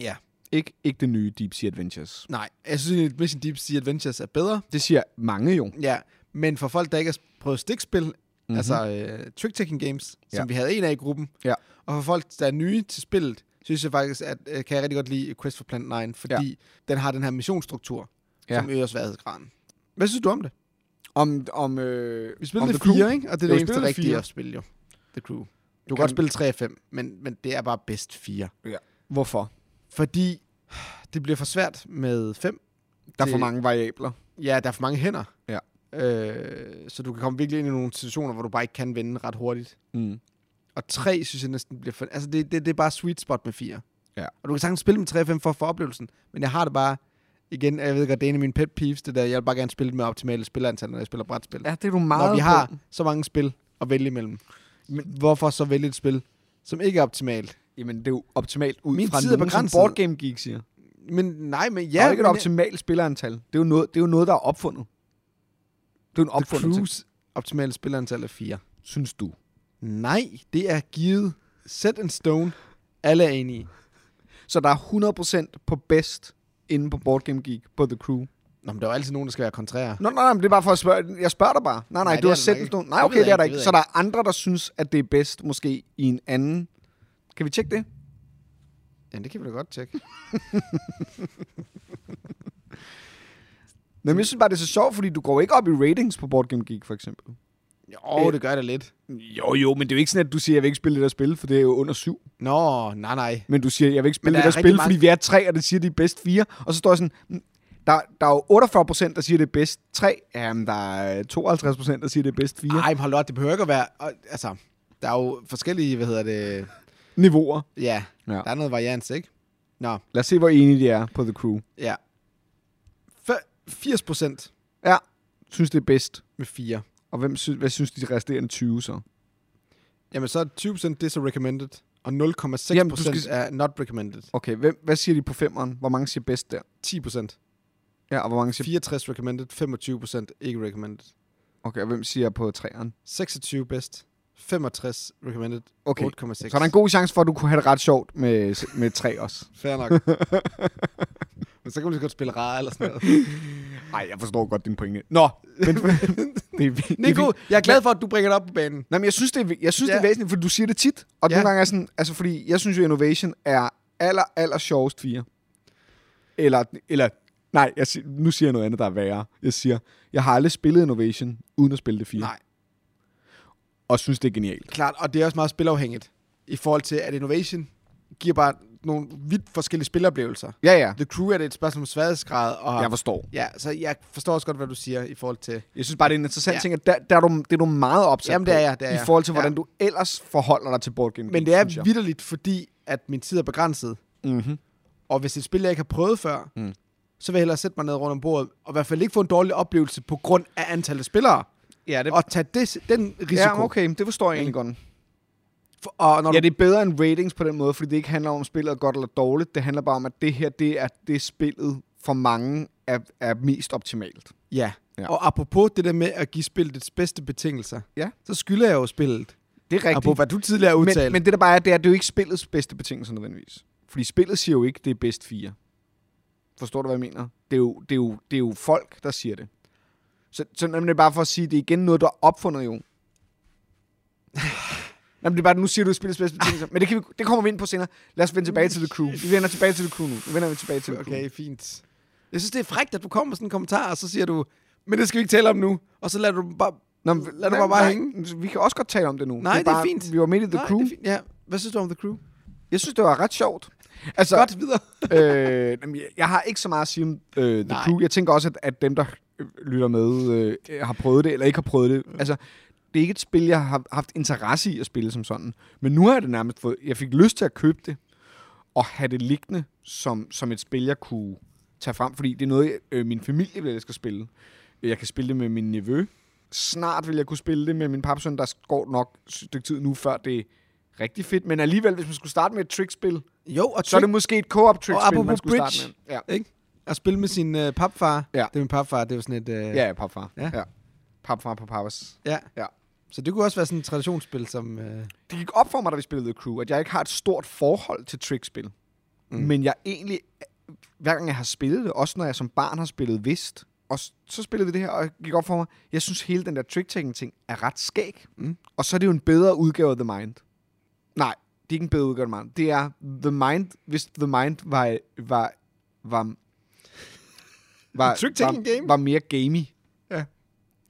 Speaker 1: Ja.
Speaker 2: Ikke, ikke det nye Deep Sea Adventures.
Speaker 1: Nej, jeg synes, at Mission Deep Sea Adventures er bedre.
Speaker 2: Det siger mange jo.
Speaker 1: Ja, men for folk, der ikke har prøvet stikspil, mm-hmm. altså øh, trick-taking games, ja.
Speaker 2: Mhm. Ja.
Speaker 1: som vi havde en af i gruppen,
Speaker 2: Ja.
Speaker 1: og for folk, der er nye til spillet, synes jeg faktisk, at øh, kan jeg rigtig godt lide Quest for Planet 9, fordi den har den her missionsstruktur,
Speaker 2: Ja.
Speaker 1: ja. som øger sværhedsgraden. Hvad synes du om det?
Speaker 2: Om, om, øh,
Speaker 1: Vi
Speaker 2: om
Speaker 1: spillede det
Speaker 2: The Crew.
Speaker 1: fire, ikke? Og det er det
Speaker 2: Jo, vi
Speaker 1: eneste
Speaker 2: spillede fire.
Speaker 1: rigtige at spille, jo. The Crew. Du kan,
Speaker 2: Kan-
Speaker 1: godt spille 3 og 5, men, men det er bare bedst 4.
Speaker 2: Hvorfor?
Speaker 1: Fordi det bliver for svært med 5,
Speaker 2: Der er for
Speaker 1: Det-
Speaker 2: mange variabler.
Speaker 1: Ja, der er for mange hænder.
Speaker 2: Ja.
Speaker 1: Øh, så du kan komme virkelig ind i nogle situationer, hvor du bare ikke kan vinde ret hurtigt.
Speaker 2: Mm.
Speaker 1: Og tre, synes jeg næsten bliver for... Altså, det, det, det er bare sweet spot med fire.
Speaker 2: Ja.
Speaker 1: Og du kan sagtens spille med 3 og 5 for, for oplevelsen, men jeg har det bare... Igen, jeg ved godt, det er en af mine pet peeves, det der, jeg vil bare gerne spille med optimale spillerantal, når jeg spiller brætspil.
Speaker 2: Ja, det er du
Speaker 1: når vi har
Speaker 2: på.
Speaker 1: så mange spil at vælge imellem. Men hvorfor så vælge et spil, som ikke er optimalt?
Speaker 2: Jamen, det er jo optimalt ud
Speaker 1: Min
Speaker 2: fra
Speaker 1: tid er
Speaker 2: nogen,
Speaker 1: begrænset.
Speaker 2: som Board Game Geek siger.
Speaker 1: Men nej, men ja...
Speaker 2: Ja, der er jo ikke et
Speaker 1: men-
Speaker 2: optimalt spillerantal. Det er, jo noget, det er jo noget, der er opfundet. Det er jo en
Speaker 1: The
Speaker 2: opfundet ting,
Speaker 1: Cruise optimale spillerantal er 4.
Speaker 2: synes du.
Speaker 1: Nej, det er givet set in stone. Alle er enige.
Speaker 2: Så der er 100% på bedst inde på Board Game Geek på The Crew.
Speaker 1: Nå, men der er jo altid nogen, der skal være kontrære.
Speaker 2: Nå, nej, nej, men det er bare for at spørge. Jeg spørger dig bare. Nej,
Speaker 1: Nej,
Speaker 2: nej, nej
Speaker 1: det
Speaker 2: du
Speaker 1: er
Speaker 2: har
Speaker 1: det
Speaker 2: set
Speaker 1: nok
Speaker 2: en
Speaker 1: ikke.
Speaker 2: stund.
Speaker 1: Det
Speaker 2: Nej, okay,
Speaker 1: ved
Speaker 2: det
Speaker 1: jeg
Speaker 2: er der
Speaker 1: ikke,
Speaker 2: ikke.
Speaker 1: det
Speaker 2: Så
Speaker 1: ved
Speaker 2: der er andre, der synes, at det er bedst måske i en anden. Kan vi tjekke det?
Speaker 1: Ja, det kan vi da godt tjekke.
Speaker 2: Men jeg synes bare, det er så sjovt, fordi du går ikke op i ratings på Board Game Geek, for eksempel.
Speaker 1: Jo, det gør det lidt.
Speaker 2: Jo, jo, men det er jo ikke sådan, at du siger, at jeg vil ikke spille det der spil, for det er jo under syv.
Speaker 1: Nå, nej, nej.
Speaker 2: Men du siger, at jeg vil ikke spille
Speaker 1: der
Speaker 2: det der
Speaker 1: er rigtig
Speaker 2: spil, fordi
Speaker 1: mange-
Speaker 2: vi er tre, og det siger, at de er bedst fire. Og så står jeg sådan, "Mm, der, der er jo 48 procent, der siger, at det er bedst tre. Jamen, der er 52 procent, der siger, at det er bedst fire.
Speaker 1: Nej, hold op, det behøver ikke at være... Og, altså, der er jo forskellige, hvad hedder det...
Speaker 2: Niveauer.
Speaker 1: Ja,
Speaker 2: Ja.
Speaker 1: ja. der er noget varians, ikke? Nå,
Speaker 2: Lad os se, hvor enige de er på The Crew.
Speaker 1: ja. F- 80 procent
Speaker 2: Ja, synes det er bedst.
Speaker 1: med 4.
Speaker 2: Og hvem sy- hvad synes de resterende 20 så?
Speaker 1: Jamen, så er 20 procent, det er så recommended. Og 0,6
Speaker 2: Jamen, du
Speaker 1: procent
Speaker 2: skal-
Speaker 1: er not recommended.
Speaker 2: Okay, hvem, hvad siger de på femmeren? Hvor mange siger bedst der?
Speaker 1: 10 procent.
Speaker 2: Ja, og hvor mange siger...
Speaker 1: 64 recommended, 25 procent ikke recommended.
Speaker 2: Okay, og hvem siger på treeren?
Speaker 1: 26 best, 65 recommended,
Speaker 2: Okay,
Speaker 1: 8,6.
Speaker 2: så er der en god chance for, at du kunne have det ret sjovt med, med tre også.
Speaker 1: Fair nok. <laughs> Men så kan man lige så godt spille rar eller sådan noget.
Speaker 2: Nej, jeg forstår godt din pointe. Nå, <laughs> men... det er, fint.
Speaker 1: Nico, jeg er glad for, at du bringer det op på banen.
Speaker 2: Nej, men jeg synes, det er, vi- jeg synes, ja. det
Speaker 1: Ja.
Speaker 2: er væsentligt, for du siger det tit. Og ja.
Speaker 1: Ja.
Speaker 2: nogle gange er sådan, altså fordi jeg synes jo, Innovation er aller, aller sjovest fire. Eller, eller nej, jeg, si- nu siger jeg noget andet, der er værre. Jeg siger, jeg har aldrig spillet Innovation, uden at spille det fire.
Speaker 1: Nej.
Speaker 2: Og synes, det er genialt.
Speaker 1: Klart, og det er også meget spilafhængigt. I forhold til, at Innovation giver bare nogle vidt forskellige spiloplevelser.
Speaker 2: Ja, ja.
Speaker 1: The Crew er det et spørgsmål om sværhedsgrad, og...
Speaker 2: Jeg forstår.
Speaker 1: Ja, så jeg forstår også godt, hvad du siger i forhold til...
Speaker 2: Jeg synes bare, det er en interessant
Speaker 1: Ja.
Speaker 2: ting, at der, der er du, det er du meget opsat
Speaker 1: Jamen, det er
Speaker 2: på,
Speaker 1: jeg, det er
Speaker 2: I
Speaker 1: jeg.
Speaker 2: forhold til, hvordan
Speaker 1: Ja.
Speaker 2: du ellers forholder dig til board game.
Speaker 1: Men det er vidderligt, fordi at min tid er begrænset.
Speaker 2: Mm-hmm.
Speaker 1: Og hvis et spil, jeg ikke har prøvet før,
Speaker 2: Mm.
Speaker 1: mm. så vil jeg hellere sætte mig ned rundt om bordet, og i hvert fald ikke få en dårlig oplevelse på grund af antallet af spillere.
Speaker 2: Ja, det
Speaker 1: Og tage det, den risiko.
Speaker 2: Ja, okay, det forstår jeg egentlig godt.
Speaker 1: For- Og når
Speaker 2: Ja,
Speaker 1: du,
Speaker 2: det er bedre end ratings på den måde, fordi det ikke handler om, spillet er godt eller dårligt. Det handler bare om, at det her, det er det spillet for mange er, er mest optimalt.
Speaker 1: ja.
Speaker 2: Ja.
Speaker 1: ja. Og apropos det der med at give spillet dets bedste betingelser,
Speaker 2: Ja.
Speaker 1: så skylder jeg jo spillet.
Speaker 2: Det er
Speaker 1: Apropos, hvad du tidligere udtalte.
Speaker 2: Men, men det der bare er, det er, det er jo ikke spillets bedste betingelser nødvendigvis. Fordi spillet siger jo ikke, det er bedst fire. Forstår du, hvad jeg mener? Det er jo, det er jo, det er jo folk, der siger det. Så, så jamen, det er bare for at sige, det er igen noget, du har opfundet jo. <sighs> Jamen, det er bare, nu siger du spillets
Speaker 1: <laughs>
Speaker 2: bedste betingelser. Men det, kan vi, det kommer vi ind på senere. Lad os vende tilbage til The Crew. Vi vender tilbage til The Crew nu. Vi vender tilbage til The Crew.
Speaker 1: Okay, fint. Jeg synes, det er frækt, at du kommer med sådan en kommentar, og så siger du, men det skal vi ikke tale om nu. Og så lader du dem bare...
Speaker 2: Nå,
Speaker 1: men lad det bare- bare
Speaker 2: hænge. Vi kan også godt tale om det nu.
Speaker 1: Nej, det er fint.
Speaker 2: Vi var midt i The
Speaker 1: Nej,
Speaker 2: Crew.
Speaker 1: det er fint. Ja, hvad synes du om The Crew?
Speaker 2: Jeg synes, det var ret sjovt. Altså,
Speaker 1: Godt videre.
Speaker 2: <laughs> øh, jamen, jeg- jeg har ikke så meget at sige om øh, The
Speaker 1: Nej.
Speaker 2: Crew. Jeg tænker også, at, at dem, der øh, lytter med, øh, har prøvet det, eller ikke har prøvet det. Altså, det er ikke et spil, jeg har haft interesse i at spille som sådan. Men nu har jeg det nærmest fået... Jeg fik lyst til at købe det, og have det liggende som, som et spil, jeg kunne tage frem. Fordi det er noget, jeg- øh, min familie vil elske at spille. Jeg kan spille det med min nevø. Snart vil jeg kunne spille det med min papsøn, der går nok et stykke tid nu, før det er rigtig fedt. Men alligevel, hvis man skulle starte med et trickspil,
Speaker 1: Jo, og
Speaker 2: så er det måske et co-op trickspil,
Speaker 1: apropos
Speaker 2: man skulle
Speaker 1: bridge.
Speaker 2: starte med. Ja,
Speaker 1: Ikke? At spille med sin øh, papfar.
Speaker 2: Ja.
Speaker 1: Det er min papfar, det er jo sådan et... Øh,
Speaker 2: ja, ja papfar.
Speaker 1: Ja.
Speaker 2: Ja. ja. Papfar på papas.
Speaker 1: ja.
Speaker 2: Ja.
Speaker 1: Så det kunne også være sådan et traditionsspil, som... Øh,
Speaker 2: Det gik op for mig, da vi spillede The Crew, at jeg ikke har et stort forhold til trickspil. Mm. Men jeg egentlig, hver gang jeg har spillet det, også når jeg som barn har spillet Vist, og s- så spillede vi det her, og det gik op for mig, jeg synes hele den der trick-taking-ting er ret skæg.
Speaker 1: Mm.
Speaker 2: Og så er det jo en bedre udgave af The Mind. Nej, det er ikke en bedre udgave af The Mind. Det er The Mind, hvis The Mind var... var, var var, <laughs>
Speaker 1: En trick-taking
Speaker 2: var,
Speaker 1: game?
Speaker 2: var mere gamey.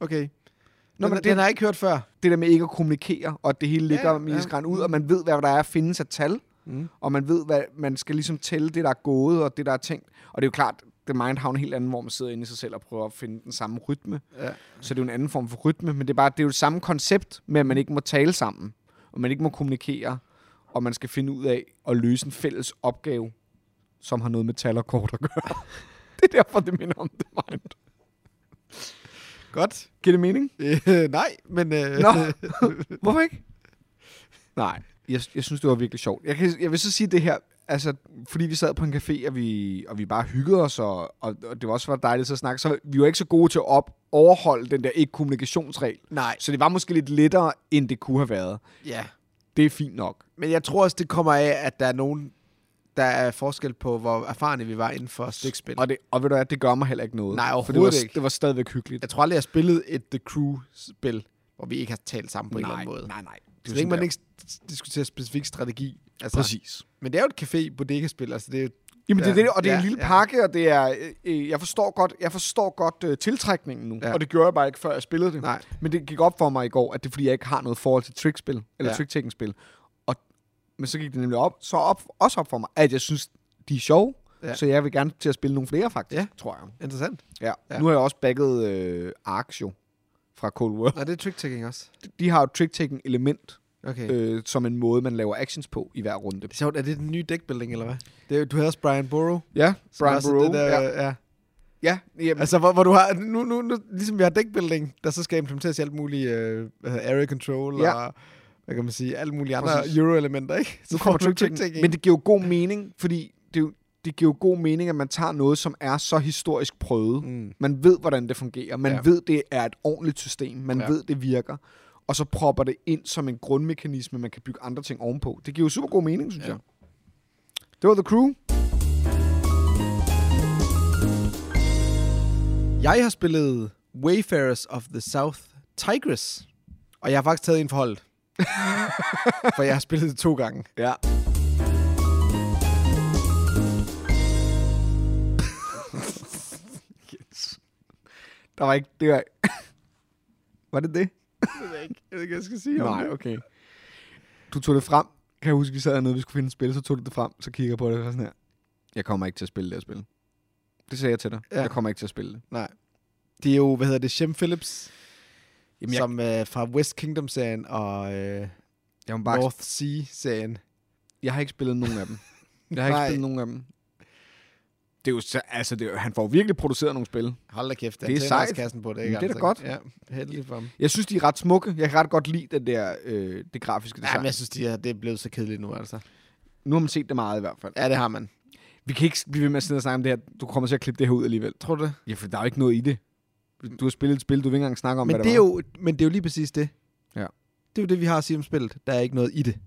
Speaker 1: okay. Nå, den,
Speaker 2: Nå, men
Speaker 1: men
Speaker 2: det-
Speaker 1: den har jeg ikke hørt før.
Speaker 2: det der med ikke at kommunikere, og at det hele ligger
Speaker 1: ja.
Speaker 2: ja, milisgræn ud, og man ved, hvad der er at findes af tal,
Speaker 1: Mm.
Speaker 2: mm. og man ved, hvad man skal ligesom tælle det, der er gået, og det, der er tænkt. Og det er jo klart, The Mind har jo en helt anden, hvor man sidder inde i sig selv og prøver at finde den samme rytme.
Speaker 1: Ja.
Speaker 2: Så det er jo en anden form for rytme, men det er, bare, det er jo det samme koncept med, at man ikke må tale sammen, og man ikke må kommunikere, og man skal finde ud af at løse en fælles opgave, som har noget med tal og kort at gøre. <laughs> det er derfor, det minder om The Mind.
Speaker 1: Godt.
Speaker 2: Giver det mening?
Speaker 1: Øh, nej, men... Øh,
Speaker 2: Nå, <laughs> hvorfor ikke? Nej, jeg, jeg synes, det var virkelig sjovt. Jeg, kan, jeg vil så sige det her, altså, fordi vi sad på en café, og vi, og vi bare hyggede os, og, og, og det var også var dejligt så at snakke, så vi var ikke så gode til at op, overholde den der ikke-kommunikationsregel.
Speaker 1: Nej,
Speaker 2: Så det var måske lidt lettere, end det kunne have været.
Speaker 1: ja.
Speaker 2: Det er fint nok.
Speaker 1: Men jeg tror også, det kommer af, at der er nogen, der er forskel på, hvor erfarne vi var inden for stikspil.
Speaker 2: Og, det, og ved du hvad, det gør mig heller ikke noget.
Speaker 1: Nej,
Speaker 2: for det var,
Speaker 1: overhovedet ikke.
Speaker 2: det var stadigvæk hyggeligt.
Speaker 1: Jeg tror aldrig, jeg har spillet et The Crew-spil, hvor vi ikke har talt sammen på en eller anden måde.
Speaker 2: nej, nej.
Speaker 1: Så
Speaker 2: jo
Speaker 1: længe
Speaker 2: sådan
Speaker 1: man
Speaker 2: der.
Speaker 1: ikke s- diskuterer specifik strategi. Altså,
Speaker 2: Præcis.
Speaker 1: Men det er jo et café bodega-spil, altså det er
Speaker 2: Jamen det er
Speaker 1: Ja,
Speaker 2: det, og det er
Speaker 1: ja,
Speaker 2: en lille
Speaker 1: ja.
Speaker 2: pakke, og det er, øh, øh, jeg forstår godt, jeg forstår godt øh, tiltrækningen nu,
Speaker 1: Ja.
Speaker 2: ja. og det gjorde jeg bare ikke, før jeg spillede det.
Speaker 1: Nej.
Speaker 2: Men det gik op for mig i går, at det er fordi, jeg ikke har noget forhold til trickspil, eller
Speaker 1: Ja.
Speaker 2: ja. trick-taking-spil. Og, men så gik det nemlig op, så op, også op for mig, at jeg synes, de er sjove,
Speaker 1: Ja.
Speaker 2: ja. så jeg vil gerne til at spille nogle flere faktisk,
Speaker 1: Ja.
Speaker 2: ja. tror jeg.
Speaker 1: interessant.
Speaker 2: Ja.
Speaker 1: Ja.
Speaker 2: ja. Nu har jeg også bagget øh, Arx jo, fra Cold War.
Speaker 1: Og det er trick-taking også.
Speaker 2: De har jo trick-taking-element,
Speaker 1: Okay. Øh.
Speaker 2: øh, som en måde, man laver actions på i hver runde.
Speaker 1: Det er sjovt, er det den nye deckbuilding, eller hvad? Det er, jo- du havde også Brian Burrow.
Speaker 2: Ja,
Speaker 1: som
Speaker 2: Brian
Speaker 1: også er
Speaker 2: Burrow.
Speaker 1: Det der,
Speaker 2: ja.
Speaker 1: ja. ja.
Speaker 2: ja, jamen,
Speaker 1: Altså, hvor, hvor du har, nu, nu, nu, ligesom vi har deckbuilding, der så skal implementeres i alt muligt øh, hvad hedder, area control
Speaker 2: Ja.
Speaker 1: og, hvad kan man sige, alle mulige andre
Speaker 2: Præcis.
Speaker 1: euro-elementer, ikke?
Speaker 2: nu
Speaker 1: får
Speaker 2: kommer
Speaker 1: du
Speaker 2: trick-taking. Men det giver jo god mening, fordi det, er jo- det giver jo god mening, at man tager noget, som er så historisk prøvet.
Speaker 1: Mm.
Speaker 2: Man ved, hvordan det fungerer. Man
Speaker 1: Ja.
Speaker 2: ja. ved, det er et ordentligt system. Man
Speaker 1: Ja.
Speaker 2: ja. ved, det virker. Og så propper det ind som en grundmekanisme, man kan bygge andre ting ovenpå. Det giver jo super god mening, synes
Speaker 1: Ja.
Speaker 2: ja. jeg. Det var The Crew.
Speaker 1: Jeg har spillet Wayfarers of the South Tigris, og jeg har faktisk taget en forhold. for jeg har spillet det to gange.
Speaker 2: Ja. <laughs> yes. Der var ikke... Det var... <laughs> var det det?
Speaker 1: Jeg ved ikke, jeg, ved ikke, hvad jeg skal sige om
Speaker 2: Nej,
Speaker 1: det.
Speaker 2: okay. Du tog det frem. Kan jeg huske, vi sad hernede, vi skulle finde et spil, så tog du det frem, så kigger jeg på det og var sådan her. Jeg kommer ikke til at spille det her spil. Det sagde jeg til dig.
Speaker 1: Ja.
Speaker 2: Ja. Jeg kommer ikke til at spille det.
Speaker 1: Nej. Det er jo, hvad hedder det, Shem Phillips, Jamen,
Speaker 2: Jamen, jeg-
Speaker 1: som øh, fra West Kingdom-serien og øh,
Speaker 2: Jeg, må bare,
Speaker 1: North Sea-serien.
Speaker 2: jeg har ikke spillet nogen af dem. Jeg har ikke
Speaker 1: Nej.
Speaker 2: spillet nogen af dem. Det er jo, så- altså, det er, jo- han får virkelig produceret nogle spil.
Speaker 1: Hold da kæft, han
Speaker 2: Det er
Speaker 1: tænder
Speaker 2: sejt.
Speaker 1: også kassen på det, ikke?
Speaker 2: Men det er da
Speaker 1: altså? Ja, heldig for ham.
Speaker 2: Jeg synes, de er ret smukke. Jeg kan ret godt lide den der, øh, det grafiske
Speaker 1: Ja,
Speaker 2: design.
Speaker 1: men jeg synes, de er, det er blevet så kedeligt nu, altså.
Speaker 2: Nu har man set det meget i hvert fald.
Speaker 1: Ja, det har man.
Speaker 2: Vi kan ikke blive ved med at sidde og snakke om det her. Du kommer til at klippe det her ud alligevel.
Speaker 1: Tror du det?
Speaker 2: Ja, for der er jo ikke noget i det. Du har spillet et spil, du vil ikke engang snakke om,
Speaker 1: Men
Speaker 2: hvad
Speaker 1: det, er
Speaker 2: var.
Speaker 1: jo, men det er jo lige præcis det.
Speaker 2: Ja.
Speaker 1: Det er jo det, vi har at sige om spillet. Der er ikke noget i det.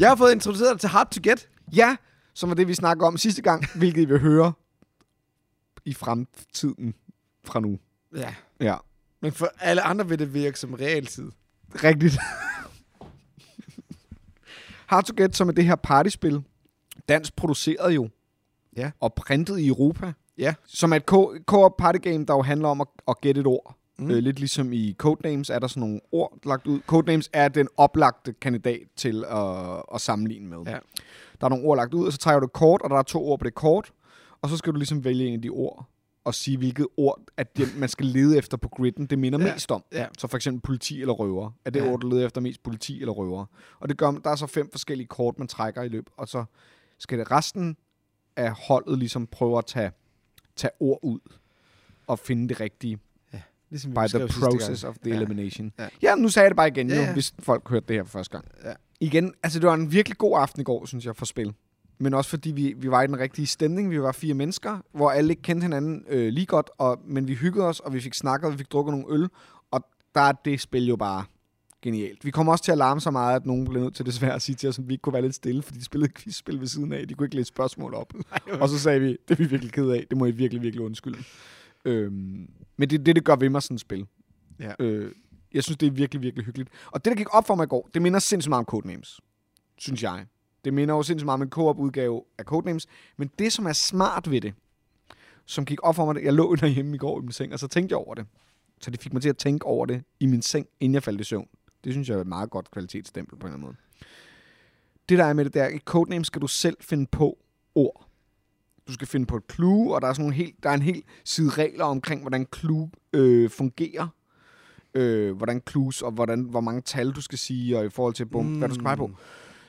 Speaker 1: Jeg har fået introduceret dig til Hard to Get.
Speaker 2: Ja, som var det, vi snakkede om sidste gang, hvilket I vil høre i fremtiden fra nu.
Speaker 1: Ja.
Speaker 2: Ja,
Speaker 1: Men for alle andre vil det virke som realtid.
Speaker 2: rigtigt. Hard to Get, som er det her partyspil, dansk produceret jo.
Speaker 1: Ja.
Speaker 2: Og printet i Europa.
Speaker 1: Ja.
Speaker 2: Som er et co- co-op partygame, der jo handler om at, at gætte et ord. Mm. Øh, lidt ligesom i Codenames er der sådan nogle ord lagt ud. Codenames er den oplagte kandidat til at, at sammenligne med.
Speaker 1: Ja.
Speaker 2: Der er nogle ord lagt ud, og så trækker du et kort, og der er to ord på det kort. Og så skal du ligesom vælge en af de ord, og sige, hvilket ord, at den, man skal lede efter på gridden, det minder
Speaker 1: Ja.
Speaker 2: ja. mest om.
Speaker 1: Ja.
Speaker 2: Så for eksempel politi eller røver. Er det
Speaker 1: Ja.
Speaker 2: ja. ord, du leder efter mest politi eller røver? Og det gør, der er så fem forskellige kort, man trækker i løb, og så skal det resten af holdet ligesom prøve at tage, tage ord ud og finde det rigtige
Speaker 1: Ligesom
Speaker 2: by the
Speaker 1: beskrev sidste gang.
Speaker 2: process of the
Speaker 1: Ja.
Speaker 2: elimination.
Speaker 1: Ja.
Speaker 2: Ja. ja, nu sagde jeg det bare igen,
Speaker 1: Ja,
Speaker 2: ja, ja.
Speaker 1: ja.
Speaker 2: Jo, hvis folk hørte det her for første gang.
Speaker 1: Ja.
Speaker 2: Igen, altså det var en virkelig god aften i går, synes jeg, for spil. Men også fordi vi, vi var i den rigtige stemning. Vi var fire mennesker, hvor alle ikke kendte hinanden øh, lige godt, og, men vi hyggede os, og vi fik snakket, og vi fik drukket nogle øl. Og der er det spil jo bare genialt. Vi kom også til at larme så meget, at nogen blev nødt til desværre at sige til os, at vi ikke kunne være lidt stille, fordi de spillede et quizspil ved siden af. De kunne ikke læse spørgsmål op. og så sagde vi, det er vi virkelig ked af. Det må I virkelig, virkelig undskylde. Øhm, men det er det, det gør ved mig, sådan et spil.
Speaker 1: Ja.
Speaker 2: Øh, jeg synes, det er virkelig, virkelig hyggeligt. Og det, der gik op for mig i går, det minder sindssygt meget om Codenames. Synes jeg. Det minder jo sindssygt meget om en co-op-udgave af Codenames. Men det, som er smart ved det, som gik op for mig, det- jeg lå derhjemme i går i min seng, og så tænkte jeg over det. Så det fik mig til at tænke over det i min seng, inden jeg faldt i søvn. Det synes jeg er et meget godt kvalitetsstempel på en eller anden måde. Det der er med det, der i Codenames skal du selv finde på ord. Du skal finde på et clue, og der er, sådan nogle helt, der er en hel side regler omkring, hvordan clue øh, fungerer. Øh, hvordan clues, og hvordan, hvor mange tal du skal sige, og i forhold til bum, mm. hvad du skal pege på.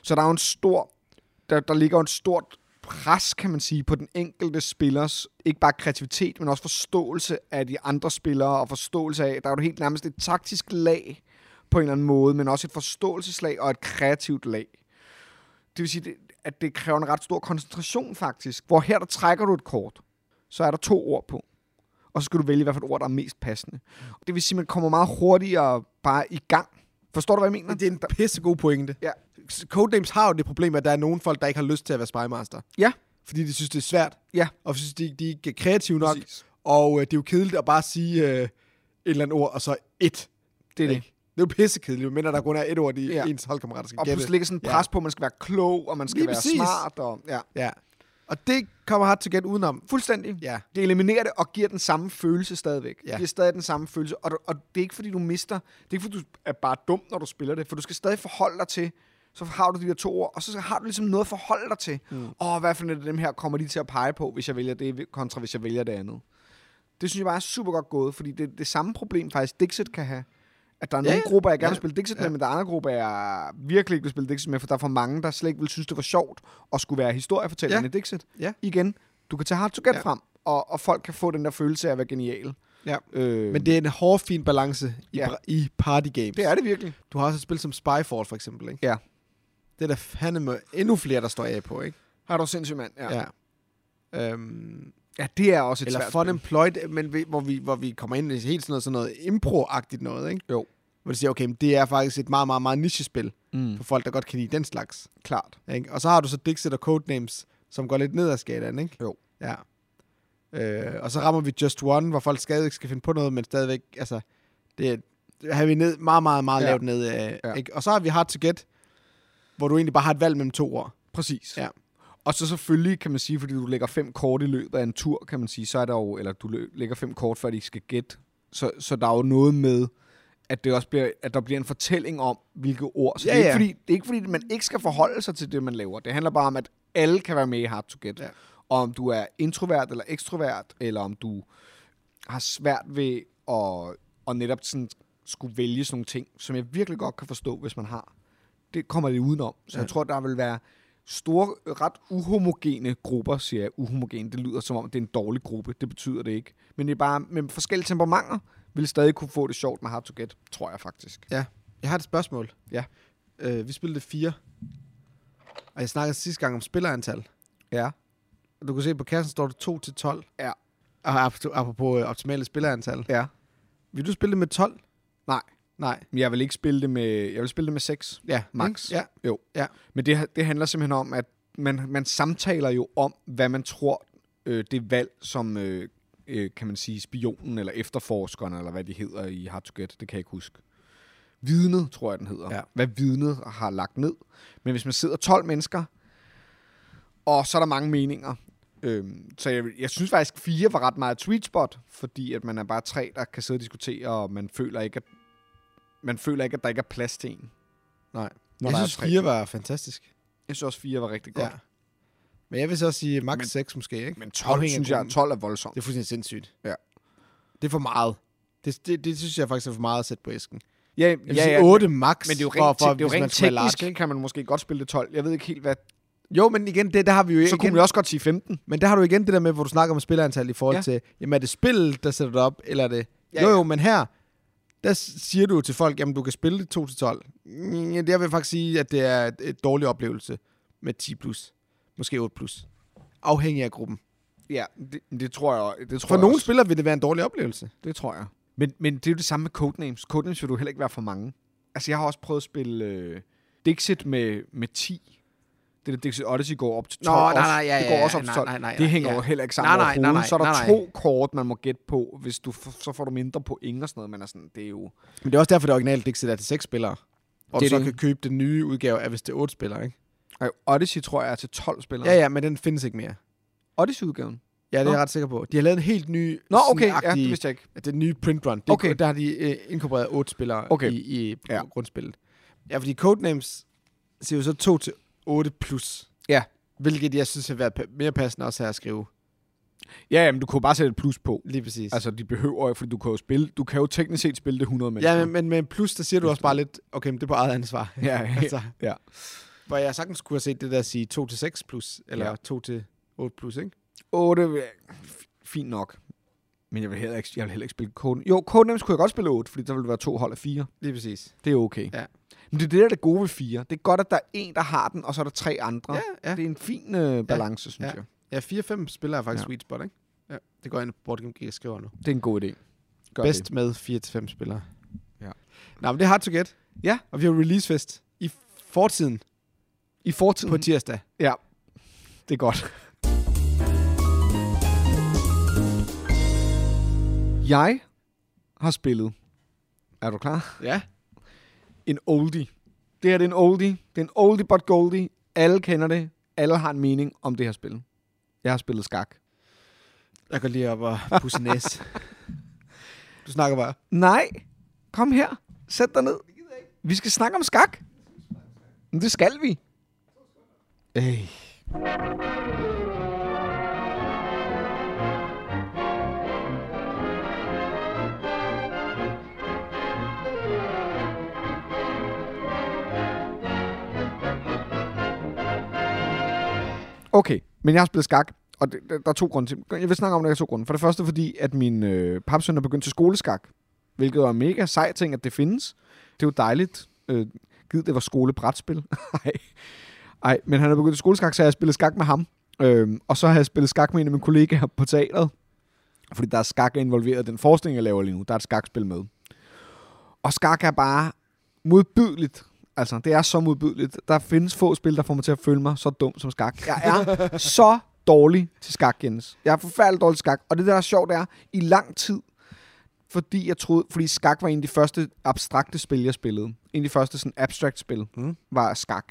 Speaker 2: Så der er jo en stor, der, der ligger jo en stort pres, kan man sige, på den enkelte spillers, ikke bare kreativitet, men også forståelse af de andre spillere, og forståelse af, der er jo helt nærmest et taktisk lag på en eller anden måde, men også et forståelseslag og et kreativt lag. Det vil sige, det- at det kræver en ret stor koncentration faktisk, hvor her der trækker du et kort, så er der to ord på, og så skal du vælge, hvad for et ord, der er mest passende. Og det vil sige, at man kommer meget hurtigere bare i gang. Forstår du, hvad jeg mener?
Speaker 1: Men det er en pissegod pointe.
Speaker 2: Ja.
Speaker 1: Codenames har jo det problem, at der er nogle folk, der ikke har lyst til at være spymaster.
Speaker 2: Ja.
Speaker 1: Fordi de synes, det er svært.
Speaker 2: Ja.
Speaker 1: Og synes, de, de ikke er kreative nok. Præcis. Og øh, det er jo kedeligt at bare sige øh, et eller andet ord, og så et.
Speaker 2: Det er det.
Speaker 1: Det er jo pissekedeligt, men der kun er et ord, de ja.
Speaker 2: Ja.
Speaker 1: ens holdkammerater skal
Speaker 2: Og
Speaker 1: gætte.
Speaker 2: pludselig ligger sådan et
Speaker 1: Ja.
Speaker 2: pres på, at man skal være klog, og man skal
Speaker 1: Lige
Speaker 2: være
Speaker 1: præcis.
Speaker 2: smart. Og, ja.
Speaker 1: Ja. Og det kommer hard to get udenom.
Speaker 2: Fuldstændig.
Speaker 1: Ja.
Speaker 2: Det eliminerer det og giver den samme følelse stadigvæk.
Speaker 1: Ja.
Speaker 2: Det giver stadig den samme følelse. Og, du- og det er ikke, fordi du mister... Det er ikke, fordi du er bare dum, når du spiller det. For du skal stadig forholde dig til... Så har du de der to ord, og så har du ligesom noget at forholde dig til. Åh, mm. oh, hvad for et af dem her kommer de til at pege på, hvis jeg vælger det, kontra hvis jeg vælger det andet. Det synes jeg bare er super godt gået, fordi det er det samme problem faktisk Dixit kan have. At der er
Speaker 1: Ja,
Speaker 2: nogle
Speaker 1: ja.
Speaker 2: grupper, jeg gerne vil
Speaker 1: Ja.
Speaker 2: spille Dixit med, men der er andre grupper, jeg virkelig ikke vil spille Dixit med, for der er for mange, der slet ikke vil synes, det var sjovt at skulle være historiefortællerne
Speaker 1: Ja.
Speaker 2: i Dixit.
Speaker 1: Ja.
Speaker 2: Igen, du kan tage Hard to Get
Speaker 1: Ja.
Speaker 2: ja. frem, og, og folk kan få den der følelse af at være genial.
Speaker 1: Ja.
Speaker 2: Øh,
Speaker 1: Men det er en hård, fin balance i,
Speaker 2: Ja.
Speaker 1: ja. i party games.
Speaker 2: det er det virkelig.
Speaker 1: Du har også et spil som Spyfall, for eksempel. Ikke?
Speaker 2: Ja.
Speaker 1: Det er der fandeme endnu flere, der står af på, ikke?
Speaker 2: Har du sindssygt, mand. Ja. ja.
Speaker 1: ja. Øhm,
Speaker 2: ja, det er også et
Speaker 1: Eller
Speaker 2: svært
Speaker 1: Fun
Speaker 2: spil.
Speaker 1: Employed, øh, men vi, hvor, vi, hvor vi kommer ind i helt sådan noget, sådan noget impro-agtigt noget, ikke?
Speaker 2: Jo.
Speaker 1: Hvor du siger, okay, men det er faktisk et meget, meget, meget nichespil
Speaker 2: Mm.
Speaker 1: for folk, der godt kan lide den slags.
Speaker 2: Klart.
Speaker 1: Ikke? Og så har du så Dixit og Codenames, som går lidt ned ad skalaen, ikke?
Speaker 2: Jo.
Speaker 1: Ja. Øh, og så rammer vi Just One, hvor folk stadig ikke skal finde på noget, men stadigvæk, altså, det er- har vi ned, meget, meget, meget ja.
Speaker 2: Ja.
Speaker 1: lavt ned. Øh, ja.
Speaker 2: Ja.
Speaker 1: ikke? Og så har vi Hard to Get, hvor du egentlig bare har et valg mellem to ord.
Speaker 2: Præcis.
Speaker 1: Ja.
Speaker 2: Og så selvfølgelig kan man sige, fordi du lægger fem kort i løbet af en tur, kan man sige, så er der jo, eller du læ- lægger fem kort, før de skal gætte. Så, så der er jo noget med, at, det også bliver, at der bliver en fortælling om, hvilke ord. Så
Speaker 1: Ja,
Speaker 2: det,
Speaker 1: ja.
Speaker 2: er ikke, fordi, det er ikke fordi, man ikke skal forholde sig til det, man laver. Det handler bare om, at alle kan være med i Hard to Get.
Speaker 1: Ja.
Speaker 2: Og om du er introvert eller ekstrovert, eller om du har svært ved at, at netop sådan skulle vælge sådan nogle ting, som jeg virkelig godt kan forstå, hvis man har. Det kommer det udenom. Så ja. jeg tror, der vil være store, ret uhomogene grupper, siger jeg. Uhomogen, det lyder som om, det er en dårlig gruppe. Det betyder det ikke. Men det er bare med forskellige temperamenter, vil stadig kunne få det sjovt med Hard to Get, tror jeg faktisk.
Speaker 1: Ja. Jeg har et spørgsmål.
Speaker 2: Ja.
Speaker 1: Øh, vi spillede fire. Og jeg snakkede sidste gang om spillerantal.
Speaker 2: Ja.
Speaker 1: Og Du kan se, på kassen står det 2 til 12.
Speaker 2: Ja.
Speaker 1: Og apropos- apropos øh, optimale spillerantal.
Speaker 2: Ja.
Speaker 1: Vil du spille det med 12?
Speaker 2: Nej.
Speaker 1: Nej.
Speaker 2: Men jeg vil ikke spille det med, jeg vil spille det med 6.
Speaker 1: Ja.
Speaker 2: Max.
Speaker 1: Ja.
Speaker 2: Jo.
Speaker 1: Ja.
Speaker 2: Men det, det handler simpelthen om, at man, man samtaler jo om, hvad man tror, øh, det valg, som øh, øh, kan man sige, spionen eller efterforskeren, eller hvad de hedder i Hard to Get, det kan jeg ikke huske. Vidnet, tror jeg, den hedder.
Speaker 1: Ja.
Speaker 2: Hvad vidnet har lagt ned. Men hvis man sidder 12 mennesker, Og så er der mange meninger. Øhm, så jeg, jeg synes faktisk, at fire var ret meget et sweet spot, fordi at man er bare tre, der kan sidde og diskutere, og man føler ikke, at, man føler ikke, at der ikke er plads til en.
Speaker 1: Når
Speaker 2: der
Speaker 1: jeg
Speaker 2: er
Speaker 1: synes,
Speaker 2: tre.
Speaker 1: 4 var fantastisk.
Speaker 2: Jeg synes også, fire var rigtig godt.
Speaker 1: Ja.
Speaker 2: Ja.
Speaker 1: Men jeg vil så også sige max
Speaker 2: Men-
Speaker 1: 6 måske, ikke?
Speaker 2: Men 12,
Speaker 1: Afhængig af
Speaker 2: synes jeg,
Speaker 1: gruppen.
Speaker 2: 12 er voldsomt.
Speaker 1: Det er fuldstændig sindssygt.
Speaker 2: Ja.
Speaker 1: Det er for meget. Det, det, det synes jeg faktisk er for meget at sætte på æsken.
Speaker 2: Ja,
Speaker 1: Jeg vil ja, sige 8 max.
Speaker 2: men det er jo
Speaker 1: for-
Speaker 2: rent,
Speaker 1: for,
Speaker 2: det er jo
Speaker 1: hvis man
Speaker 2: rent
Speaker 1: skal være large,
Speaker 2: teknisk, kan man måske godt spille det 12. Jeg ved ikke helt, hvad... Øhm,
Speaker 1: ikke? Jo, men igen, det, der har vi jo
Speaker 2: Så
Speaker 1: igen,
Speaker 2: kunne man også godt sige 15.
Speaker 1: Men der har du igen det der med, hvor du snakker om spillerantal i forhold ja.
Speaker 2: Ja.
Speaker 1: til, jamen er det spil, der sætter det op, eller er det...
Speaker 2: Ja,
Speaker 1: jo,
Speaker 2: ja.
Speaker 1: jo, men her, der s- siger du jo til folk, jamen du kan spille det 2-12. Mm, ja, Jeg vil faktisk sige, at det er et- et dårlig oplevelse med 10+. plus. Måske 8+. plus. Afhængig af gruppen.
Speaker 2: Ja, det, det tror jeg. Det tror
Speaker 1: For
Speaker 2: jeg
Speaker 1: nogle
Speaker 2: også.
Speaker 1: spillere vil det være en dårlig oplevelse.
Speaker 2: Det tror jeg. Men, men det er jo det samme med Codenames. Codenames vil du heller ikke være for mange. Altså, jeg har også prøvet at spille øh, Dixit med, med 10. Det der Dixit Odyssey går op til 12. også. det går også op til 12. det hænger jo heller ikke sammen
Speaker 1: Nej, nej, nej,
Speaker 2: overhovedet.
Speaker 1: nej,
Speaker 2: så er der
Speaker 1: nej, nej.
Speaker 2: to kort, man må gætte på. Hvis du f- så får du mindre point og sådan noget. Men er sådan, det er jo...
Speaker 1: Men det er også derfor, det originale Dixit er til seks spillere. Og
Speaker 2: Det
Speaker 1: du
Speaker 2: er
Speaker 1: så
Speaker 2: det.
Speaker 1: kan købe den nye udgave af, hvis det er otte spillere, ikke?
Speaker 2: Ej, Odyssey tror jeg er til 12 spillere.
Speaker 1: Ja, ja, men den findes ikke mere.
Speaker 2: Odyssey-udgaven.
Speaker 1: Ja, det er
Speaker 2: Nå.
Speaker 1: jeg ret sikker på. De har lavet en helt ny...
Speaker 2: Nå,
Speaker 1: sådan
Speaker 2: okay. Ja,
Speaker 1: agtig-
Speaker 2: det vidste jeg ikke.
Speaker 1: at det nye print run, det, okay.
Speaker 2: Okay.
Speaker 1: der har de øh, inkorporeret otte spillere okay.
Speaker 2: Okay.
Speaker 1: i, i ja.
Speaker 2: Ja.
Speaker 1: grundspillet. Ja, fordi Codenames ser jo så 2 til 8 plus.
Speaker 2: Ja.
Speaker 1: Hvilket jeg synes har været pa- mere passende også her at skrive.
Speaker 2: Ja, ja, men du kunne jo bare sætte et plus på.
Speaker 1: Lige præcis. Altså,
Speaker 2: Altså, de behøver jo, fordi du kan jo spille, du kan jo teknisk set spille det 100 mennesker.
Speaker 1: ja, men, men, men plus, der siger du også bare lidt, okay, men det er på eget ansvar.
Speaker 2: ja, ja.
Speaker 1: <laughs> altså,
Speaker 2: ja.
Speaker 1: hvor jeg sagtens kunne have set det der at sige 2 til 6 plus, eller ja.
Speaker 2: Ja.
Speaker 1: 2 til 8 plus, ikke?
Speaker 2: 8, fint nok. Men jeg vil heller ikke, jeg vil heller ikke spille Coden. Jo, Codenames kunne jeg godt spille 8, fordi der ville være to hold af 4.
Speaker 1: Lige præcis.
Speaker 2: Det er okay.
Speaker 1: Ja.
Speaker 2: Men det er det, der er det gode ved 4. Det er godt, at der er en, der har den, og så er der tre andre.
Speaker 1: Ja, ja.
Speaker 2: Det er en fin øh, balance, synes
Speaker 1: Ja.
Speaker 2: jeg.
Speaker 1: Ja, 4-5 spillere er faktisk ja.
Speaker 2: Ja.
Speaker 1: sweet spot, ikke? Ja. Det går jeg ind på Boardgame Geek og skriver nu.
Speaker 2: Det er en god idé. Gør
Speaker 1: Bedst
Speaker 2: Det.
Speaker 1: med 4-5 spillere.
Speaker 2: Ja.
Speaker 1: Nå, men det er hard to get.
Speaker 2: Ja.
Speaker 1: Og vi har releasefest i fortiden mm-hmm.
Speaker 2: I fortiden.
Speaker 1: på tirsdag.
Speaker 2: ja, det er godt. Jeg har spillet. Er du klar?
Speaker 1: Ja.
Speaker 2: en oldie. Det her det er en oldie. Det er en oldie but goldie. Alle kender det. Alle har en mening om det her spil. Jeg har spillet skak.
Speaker 1: Jeg går lige op og pusse næs. <laughs> Du snakker bare.
Speaker 2: Nej. Kom her. Sæt dig ned. Vi skal snakke om skak. Men det skal vi. Ej. Okay, men jeg har spillet skak, og det, der, der er to grunde til. Jeg vil snakke om det af to grunde. For det første fordi, at min øh, papsøn er begyndt til skoleskak, hvilket er en mega sej ting, at det findes. Det er jo dejligt. Øh, givet det var skolebrætspil. <laughs> Ej. Ej, men han er begyndt til skoleskak, så jeg har spillet skak med ham. Øhm, og så har jeg spillet skak med en af mine kollegaer på teateret. Fordi der er skak involveret i den forskning, jeg laver lige nu. Der er et skakspil med. Og skak er bare modbydeligt. Altså, det er så modbydeligt. Der findes få spil, der får mig til at føle mig så dum som skak. Jeg er så dårlig til skak, Jens. Jeg er forfærdelig dårlig til skak. Og det, der er sjovt, det er, i lang tid, fordi jeg troede, fordi skak var en af de første abstrakte spil, jeg spillede. En af de første sådan abstract spil
Speaker 1: Mm.
Speaker 2: mm. var skak.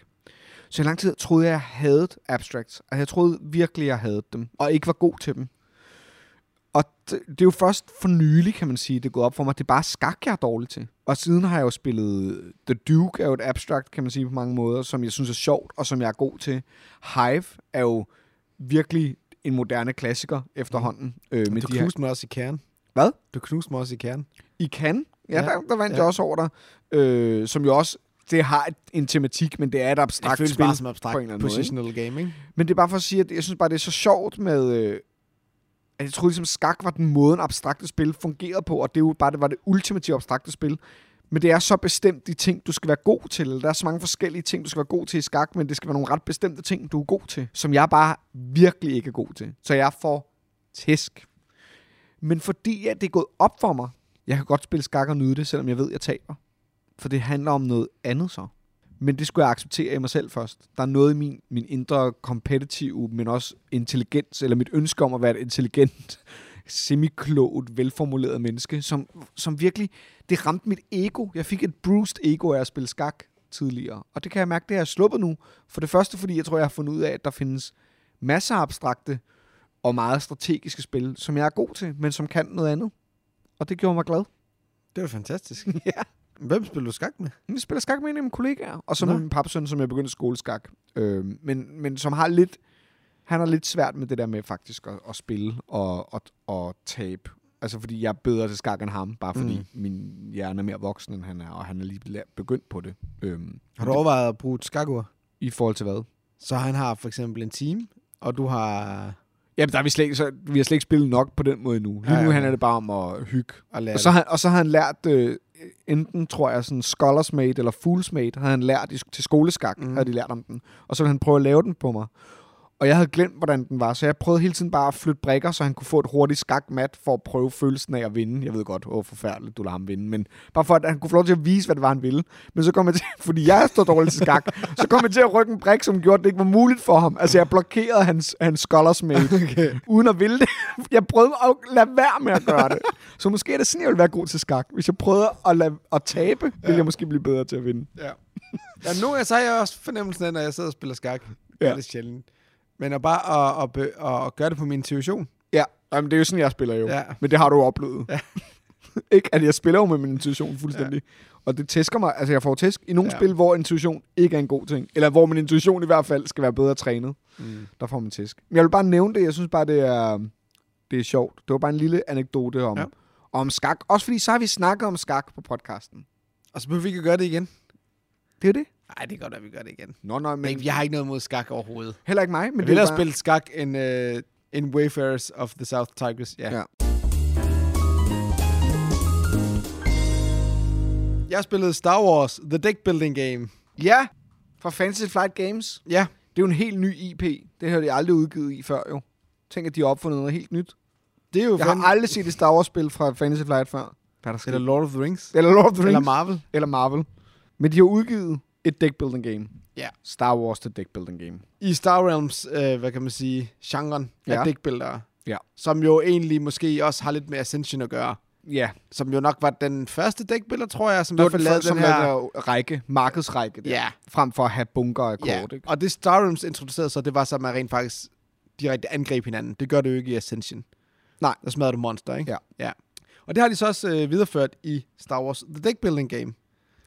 Speaker 2: Så i lang tid troede jeg, jeg havde abstracts. Og jeg troede virkelig, jeg havde dem. Og ikke var god til dem. Og det, det er jo først for nylig, kan man sige, det er gået op for mig. Det er bare skak, jeg er dårlig til. Og siden har jeg jo spillet... The Duke er jo et abstract, kan man sige, på mange måder, som jeg synes er sjovt, og som jeg er god til. Hive er jo virkelig en moderne klassiker efterhånden. Øh, med
Speaker 1: du
Speaker 2: de her.
Speaker 1: knuste mig også i kernen.
Speaker 2: Hvad?
Speaker 1: Du knuste mig også i kernen.
Speaker 2: I kan. Ja,
Speaker 1: Ja.
Speaker 2: ja. Der, der vandt
Speaker 1: Ja.
Speaker 2: ja. jeg også over dig. Øh, som jo også... Det har et, en tematik, men det er et abstrakt spil.
Speaker 1: abstrakt
Speaker 2: på en eller anden måde,
Speaker 1: positional måde, game, ikke?
Speaker 2: Men det er bare for at sige, at jeg synes bare, det er så sjovt med... Øh, at jeg troede ligesom, skak var den måde, en abstrakte spil fungerede på, og det er jo bare det var det ultimative abstrakte spil. Men det er så bestemt de ting, du skal være god til. Eller der er så mange forskellige ting, du skal være god til i skak, men det skal være nogle ret bestemte ting, du er god til, som jeg bare virkelig ikke er god til. Så jeg får tæsk. Men fordi at det er gået op for mig, jeg kan godt spille skak og nyde det, selvom jeg ved, at jeg taber. For det handler om noget andet så. Men det skulle jeg acceptere i mig selv først. Der er noget i min, min indre kompetitive, men også intelligens, eller mit ønske om at være et intelligent, <laughs> semiklogt, velformuleret menneske, som, som virkelig, det ramte mit ego. Jeg fik et bruised ego af at spille skak tidligere. Og det kan jeg mærke, det har jeg sluppet nu. For det første, fordi jeg tror, jeg har fundet ud af, at der findes masser af abstrakte og meget strategiske spil, som jeg er god til, men som kan noget andet. Og det gjorde mig glad.
Speaker 1: Det var <laughs> fantastisk.
Speaker 2: ja.
Speaker 1: Hvem spiller du skak med?
Speaker 2: Men Jeg spiller skak med en af mine kollegaer, og så
Speaker 1: Nå.
Speaker 2: med min papsøn, som jeg begyndte skoleskak. Øh, men, men som har lidt... Han har lidt svært med det der med faktisk at, at spille og, og, og tabe. Altså fordi jeg er bedre til skak end ham, bare fordi mm. min hjerne er mere voksen, end han er, og han er lige la- begyndt på det. Øhm,
Speaker 1: Har du overvejet at bruge et skakur?
Speaker 2: I forhold til hvad?
Speaker 1: Så han har for eksempel en team, og du har
Speaker 2: Jamen, der er vi, slet, ikke- så, vi har slet ikke spillet nok på den måde endnu.
Speaker 1: Ja,
Speaker 2: Lige ja,
Speaker 1: ja,
Speaker 2: nu
Speaker 1: ja.
Speaker 2: handler det bare om at hygge.
Speaker 1: at lære
Speaker 2: Og så, har han, og så har han lært, øh, enten tror jeg, sådan scholars mate eller fools mate, havde han lært i, til skoleskak, mm. havde de lært om den. Og så ville han prøve at lave den på mig. Og jeg havde glemt, hvordan den var, så jeg prøvede hele tiden bare at flytte brikker, så han kunne få et hurtigt skakmat for at prøve følelsen af at vinde. Jeg ved godt, åh forfærdeligt, du lader ham vinde, men bare for at han kunne få lov til at vise, hvad det var, han ville. Men så kom jeg til, <laughs> fordi jeg står dårligt til skak, så kom jeg til at rykke en brik, som gjorde, at det ikke var muligt for ham. Altså jeg blokerede hans, hans scholars mate, okay. uden at ville det. <laughs> Jeg prøvede at lade være med at gøre det. Så måske er det sådan, jeg ville være god til skak. Hvis jeg prøvede at, lade, at tabe, ville jeg måske blive bedre til at vinde.
Speaker 1: Ja. ja nu er, så har jeg også fornemmelsen af, når jeg sidder og spiller skak. Ja.
Speaker 2: Ja.
Speaker 1: Det er sjældent. Men at bare at, at, be, at, at gøre det på min intuition.
Speaker 2: Ja, Jamen, det er jo sådan, jeg spiller jo.
Speaker 1: Ja.
Speaker 2: Ja. Men det har du jo oplevet. Ja. <laughs> ikke? At jeg spiller jo med min intuition fuldstændig. Ja. Og det tæsker mig. Altså, jeg får tæsk i nogle
Speaker 1: Ja.
Speaker 2: ja. spil, hvor intuition ikke er en god ting. Eller hvor min intuition i hvert fald skal være bedre trænet. Mm. Der får man tæsk. Men jeg vil bare nævne det. Jeg synes bare, det er, det er sjovt. Det var bare en lille anekdote om,
Speaker 1: Ja.
Speaker 2: ja. om skak. Også fordi, så har vi snakket om skak på podcasten.
Speaker 1: Og så behøver vi ikke at gøre det igen.
Speaker 2: Det er jo det.
Speaker 1: Nej, det er godt, at vi gør det igen.
Speaker 2: Nå, nej, men
Speaker 1: Men jeg har ikke noget mod skak overhovedet.
Speaker 2: heller ikke mig. Men
Speaker 1: Men
Speaker 2: det er
Speaker 1: vil
Speaker 2: jo
Speaker 1: bare...
Speaker 2: bare...
Speaker 1: spille skak end, uh, end Wayfarers of the South Tigers. Ja. ja.
Speaker 2: Ja.
Speaker 1: Jeg spillede Star Wars The Deck Building Game.
Speaker 2: Ja, fra Fantasy Flight Games.
Speaker 1: Ja,
Speaker 2: Det er jo en helt ny IP. Det har de aldrig udgivet i før, jo. Tænk, at de har opfundet noget helt nyt.
Speaker 1: det er jo
Speaker 2: Jeg har aldrig set et Star Wars-spil fra Fantasy Flight før. Hvad er der sket?
Speaker 1: Eller Lord of the Rings.
Speaker 2: Eller Lord of the Rings.
Speaker 1: Eller Marvel.
Speaker 2: Eller Marvel. Men de har udgivet et deckbuilding game.
Speaker 1: Ja.
Speaker 2: Star Wars The Deckbuilding Game.
Speaker 1: i Star Realms, øh, hvad kan man sige, genren ja. af
Speaker 2: Ja.
Speaker 1: dækbilleder,
Speaker 2: Ja.
Speaker 1: som jo egentlig måske også har lidt med Ascension at gøre,
Speaker 2: Ja,
Speaker 1: som jo nok var den første dækbilleder, tror jeg, som i
Speaker 2: det var
Speaker 1: hvert fald
Speaker 2: den,
Speaker 1: lavede
Speaker 2: første,
Speaker 1: den
Speaker 2: som her...
Speaker 1: her...
Speaker 2: der række, markedsrække der,
Speaker 1: Ja.
Speaker 2: frem for at have bunker af kort,
Speaker 1: Ja,
Speaker 2: ikke?
Speaker 1: og det Star Realms introducerede så, det var så, at man rent faktisk direkte angreb hinanden. Det gør det jo ikke i Ascension.
Speaker 2: Nej.
Speaker 1: Der smadrer du monster, ikke?
Speaker 2: Ja.
Speaker 1: ja. Og det har de så også øh, videreført i Star Wars The Deck Building Game.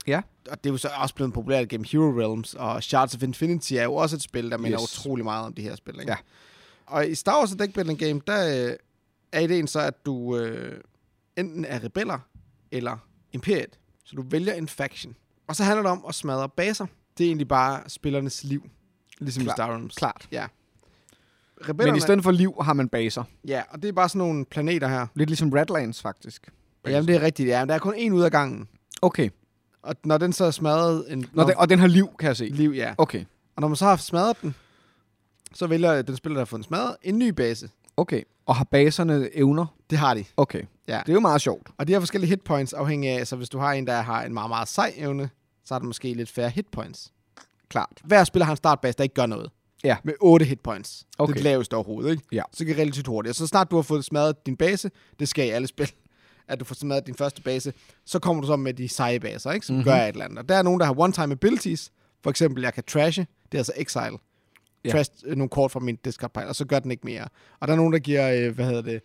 Speaker 2: Ja.
Speaker 1: Og det er jo så også blevet populært gennem Hero Realms, og Shards of Infinity er jo også et spil, der minder yes.
Speaker 2: Yes.
Speaker 1: utrolig meget om de her spil, ikke?
Speaker 2: Ja.
Speaker 1: Og i Star Wars The Deck Building Game, der øh, er ideen så, at du øh, enten er rebeller eller imperiet. Så du vælger en faction. Og så handler det om at smadre baser. Det er egentlig bare spillernes liv. Ligesom i
Speaker 2: Klart.
Speaker 1: Star Realms.
Speaker 2: Klart.
Speaker 1: Ja.
Speaker 2: Men
Speaker 1: Rebellerne,
Speaker 2: i stedet for liv har man baser.
Speaker 1: Ja, og det er bare sådan nogle planeter her.
Speaker 2: Lidt ligesom Redlands, faktisk.
Speaker 1: Jamen, det er rigtigt. Ja, men der er kun én ud af gangen.
Speaker 2: Okay.
Speaker 1: Og når den så er smadret... En,
Speaker 2: Nå, den, og den har liv, kan jeg se.
Speaker 1: liv, ja.
Speaker 2: Okay.
Speaker 1: Og når man så har smadret den, så vælger den spiller, der har fået den smadret, en ny base.
Speaker 2: Okay. Og har baserne evner?
Speaker 1: Det har de.
Speaker 2: Okay.
Speaker 1: Ja.
Speaker 2: Det er jo meget sjovt.
Speaker 1: Og de har forskellige hitpoints afhængig af, så hvis du har en, der har en meget, meget sej evne, så har den måske lidt færre hitpoints.
Speaker 2: Klart.
Speaker 1: Hver spiller har en startbase, der ikke gør noget.
Speaker 2: Ja.
Speaker 1: Med 8 hitpoints. Okay.
Speaker 2: Okay.
Speaker 1: Det er det laveste overhovedet, ikke?
Speaker 2: Ja.
Speaker 1: Så det kan relativt hurtigt. Og så snart du har fået smadret din base, det skal i alle spil, <laughs> at du får smadret din første base, så kommer du så med de seje baser, ikke?
Speaker 2: Mhm.
Speaker 1: Som mm-hmm. gør et eller andet. Og der er nogen, der har one-time abilities. For eksempel, jeg kan trashe. Det er altså exile. Ja.
Speaker 2: Ja.
Speaker 1: Trash øh, nogle kort fra min discard pile, og så gør den ikke mere. Og der er nogen, der giver, øh, hvad hedder det,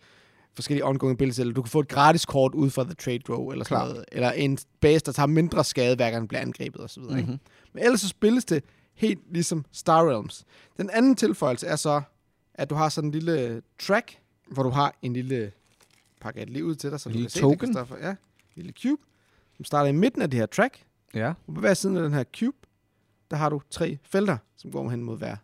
Speaker 1: forskellige ongoing abilities, eller du kan få et gratis kort ud fra The Trade Row, eller sådan
Speaker 2: Klart.
Speaker 1: noget. Eller en base, der tager mindre skade, hver gang den bliver angrebet, osv.
Speaker 2: Mhm.
Speaker 1: Mm-hmm. Men ellers så spilles det helt ligesom Star Realms. Den anden tilføjelse er så, at du har sådan en lille øh, track, hvor du har en lille pakke et liv ud til dig, så
Speaker 2: En
Speaker 1: du
Speaker 2: lille
Speaker 1: kan se det,
Speaker 2: token.
Speaker 1: Christoffer. Ja, en lille cube, som starter i midten af det her track,
Speaker 2: Ja.
Speaker 1: og på hver side af den her cube, der har du tre felter, som går hen mod hver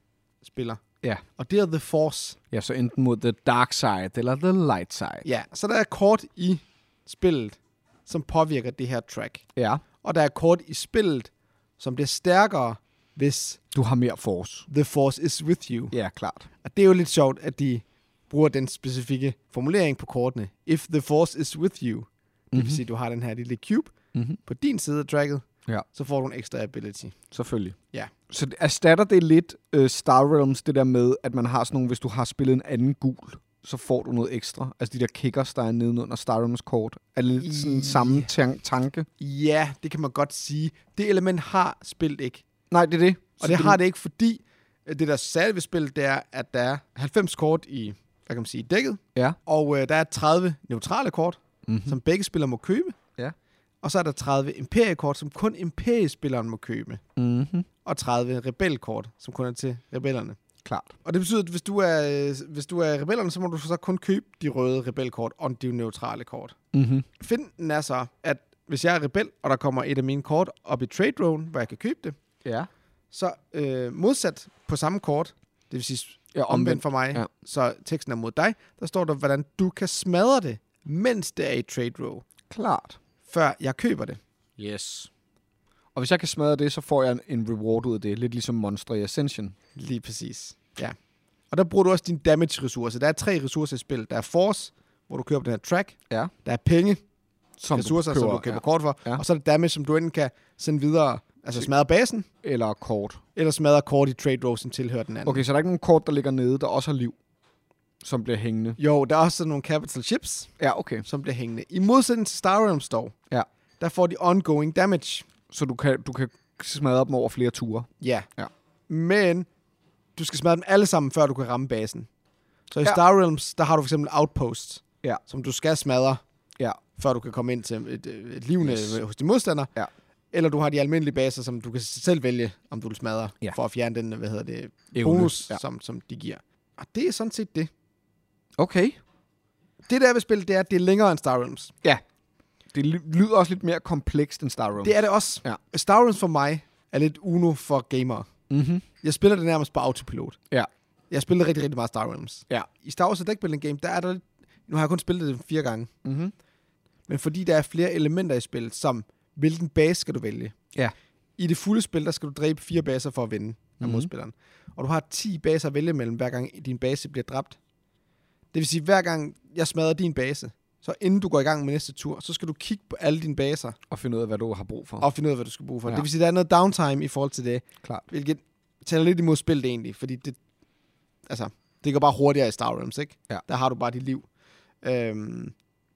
Speaker 1: spiller.
Speaker 2: Ja.
Speaker 1: Og det er The Force.
Speaker 2: Ja, så enten mod the dark side eller the light side.
Speaker 1: Ja, så der er kort i spillet, som påvirker det her track.
Speaker 2: Ja.
Speaker 1: Og der er kort i spillet, som bliver stærkere, hvis
Speaker 2: Du har mere force.
Speaker 1: The Force is with you.
Speaker 2: Ja, klart.
Speaker 1: Og det er jo lidt sjovt, at de bruger den specifikke formulering på kortene. If the force is with you. Det vil
Speaker 2: Mhm.
Speaker 1: mm-hmm. sige, at du har den her lille cube mm-hmm. på din side af tracket,
Speaker 2: Ja.
Speaker 1: så får du en ekstra ability.
Speaker 2: Selvfølgelig.
Speaker 1: Ja.
Speaker 2: Så det- erstatter det lidt øh, Star Realms, det der med, at man har sådan nogle, hvis du har spillet en anden gul, så får du noget ekstra. Altså de der kickers, der er nedenunder Star Realms kort. Er det lidt sådan samme tan- tanke?
Speaker 1: Ja, det kan man godt sige. Det element har spillet ikke.
Speaker 2: Nej, det er det.
Speaker 1: Og det har det ikke, fordi øh, Det der er særligt ved spillet, det er, at der er 90 kort i, hvad kan man sige, dækket.
Speaker 2: Ja.
Speaker 1: Og øh, der er 30 neutrale kort,
Speaker 2: Mhm.
Speaker 1: mm-hmm. som begge spillere må købe.
Speaker 2: Ja.
Speaker 1: Og så er der 30 imperiekort, som kun imperiespilleren må købe.
Speaker 2: Mm-hmm.
Speaker 1: Og 30 rebelkort, som kun er til rebellerne.
Speaker 2: Klart.
Speaker 1: Og det betyder, at hvis du er, øh, hvis du er rebellerne, så må du så kun købe de røde rebelkort og de neutrale kort.
Speaker 2: Mm-hmm.
Speaker 1: Finden er så, at hvis jeg er rebel, og der kommer et af mine kort op i trade drone, hvor jeg kan købe det,
Speaker 2: Ja.
Speaker 1: så øh, modsat på samme kort, det vil sige
Speaker 2: Ja,
Speaker 1: omvendt for mig,
Speaker 2: Ja.
Speaker 1: ja. så teksten er mod dig, der står der, hvordan du kan smadre det, mens det er i trade row,
Speaker 2: Klart.
Speaker 1: før jeg køber det.
Speaker 2: Yes. Og hvis jeg kan smadre det, så får jeg en- en reward ud af det. Lidt ligesom Monster i Ascension.
Speaker 1: Lige præcis. Ja. Og der bruger du også dine damage-ressourcer. Der er tre ressourcer i spil. Der er force, hvor du køber den her track.
Speaker 2: Ja.
Speaker 1: Der er penge,
Speaker 2: Som
Speaker 1: ressourcer, som du køber ja. kort for.
Speaker 2: Ja.
Speaker 1: Ja. Og så er der damage, som du enten kan sende videre, altså smadre basen,
Speaker 2: ja. Eller kort.
Speaker 1: eller smadre kort i trade row, som tilhører den anden.
Speaker 2: Okay, så er der ikke nogen kort, der ligger nede, der også har liv, som bliver hængende.
Speaker 1: Jo, der er også sådan nogle capital ships,
Speaker 2: Ja, okay.
Speaker 1: som bliver hængende. I modsætning til Star Realms dog,
Speaker 2: Ja.
Speaker 1: der får de ongoing damage.
Speaker 2: Så du kan, du kan smadre dem over flere ture.
Speaker 1: Ja.
Speaker 2: Ja.
Speaker 1: Men du skal smadre dem alle sammen, før du kan ramme basen. Så i
Speaker 2: Ja.
Speaker 1: ja. Star Realms, der har du for eksempel Outposts,
Speaker 2: Ja.
Speaker 1: som du skal smadre,
Speaker 2: Ja.
Speaker 1: før du kan komme ind til et, et livende
Speaker 2: Yes.
Speaker 1: yes. hos din modstander.
Speaker 2: Ja.
Speaker 1: Eller du har de almindelige baser, som du kan selv vælge, om du vil smadre,
Speaker 2: Ja.
Speaker 1: for at fjerne den, hvad hedder det,
Speaker 2: Evne.
Speaker 1: bonus,
Speaker 2: Ja.
Speaker 1: ja. som, som de giver. Og det er sådan set det.
Speaker 2: Okay.
Speaker 1: Det der ved spillet, det er, at det er længere end Star Realms.
Speaker 2: Ja. Det ly- lyder også lidt mere komplekst end Star Realms.
Speaker 1: Det er det også.
Speaker 2: Ja.
Speaker 1: Star Wars for mig er lidt Uno for gamere.
Speaker 2: Mm-hmm.
Speaker 1: Jeg spiller det nærmest på autopilot.
Speaker 2: Ja.
Speaker 1: Jeg spillede rigtig, rigtig meget Star Realms.
Speaker 2: Ja.
Speaker 1: I Star Wars Deckbuilding Game, der er der lidt... Nu har jeg kun spillet det fire gange.
Speaker 2: Mm-hmm.
Speaker 1: Men fordi der er flere elementer i spillet, som hvilken base skal du vælge?
Speaker 2: Ja.
Speaker 1: I det fulde spil, der skal du dræbe fire baser for at vinde af
Speaker 2: Mhm.
Speaker 1: modspilleren. Og du har 10 baser at vælge mellem, hver gang din base bliver dræbt. Det vil sige, hver gang jeg smadrer din base, så inden du går i gang med næste tur, så skal du kigge på alle dine baser,
Speaker 2: Og finde ud af, hvad du har brug for.
Speaker 1: og finde ud af, hvad du skal bruge for.
Speaker 2: Ja.
Speaker 1: Ja. Det vil sige, der er noget downtime i forhold til det,
Speaker 2: klart.
Speaker 1: hvilket taler lidt imod spillet egentlig, fordi det, altså, det går bare hurtigere i Star Realms, ikke?
Speaker 2: Ja.
Speaker 1: Der har du bare dit liv. Øhm,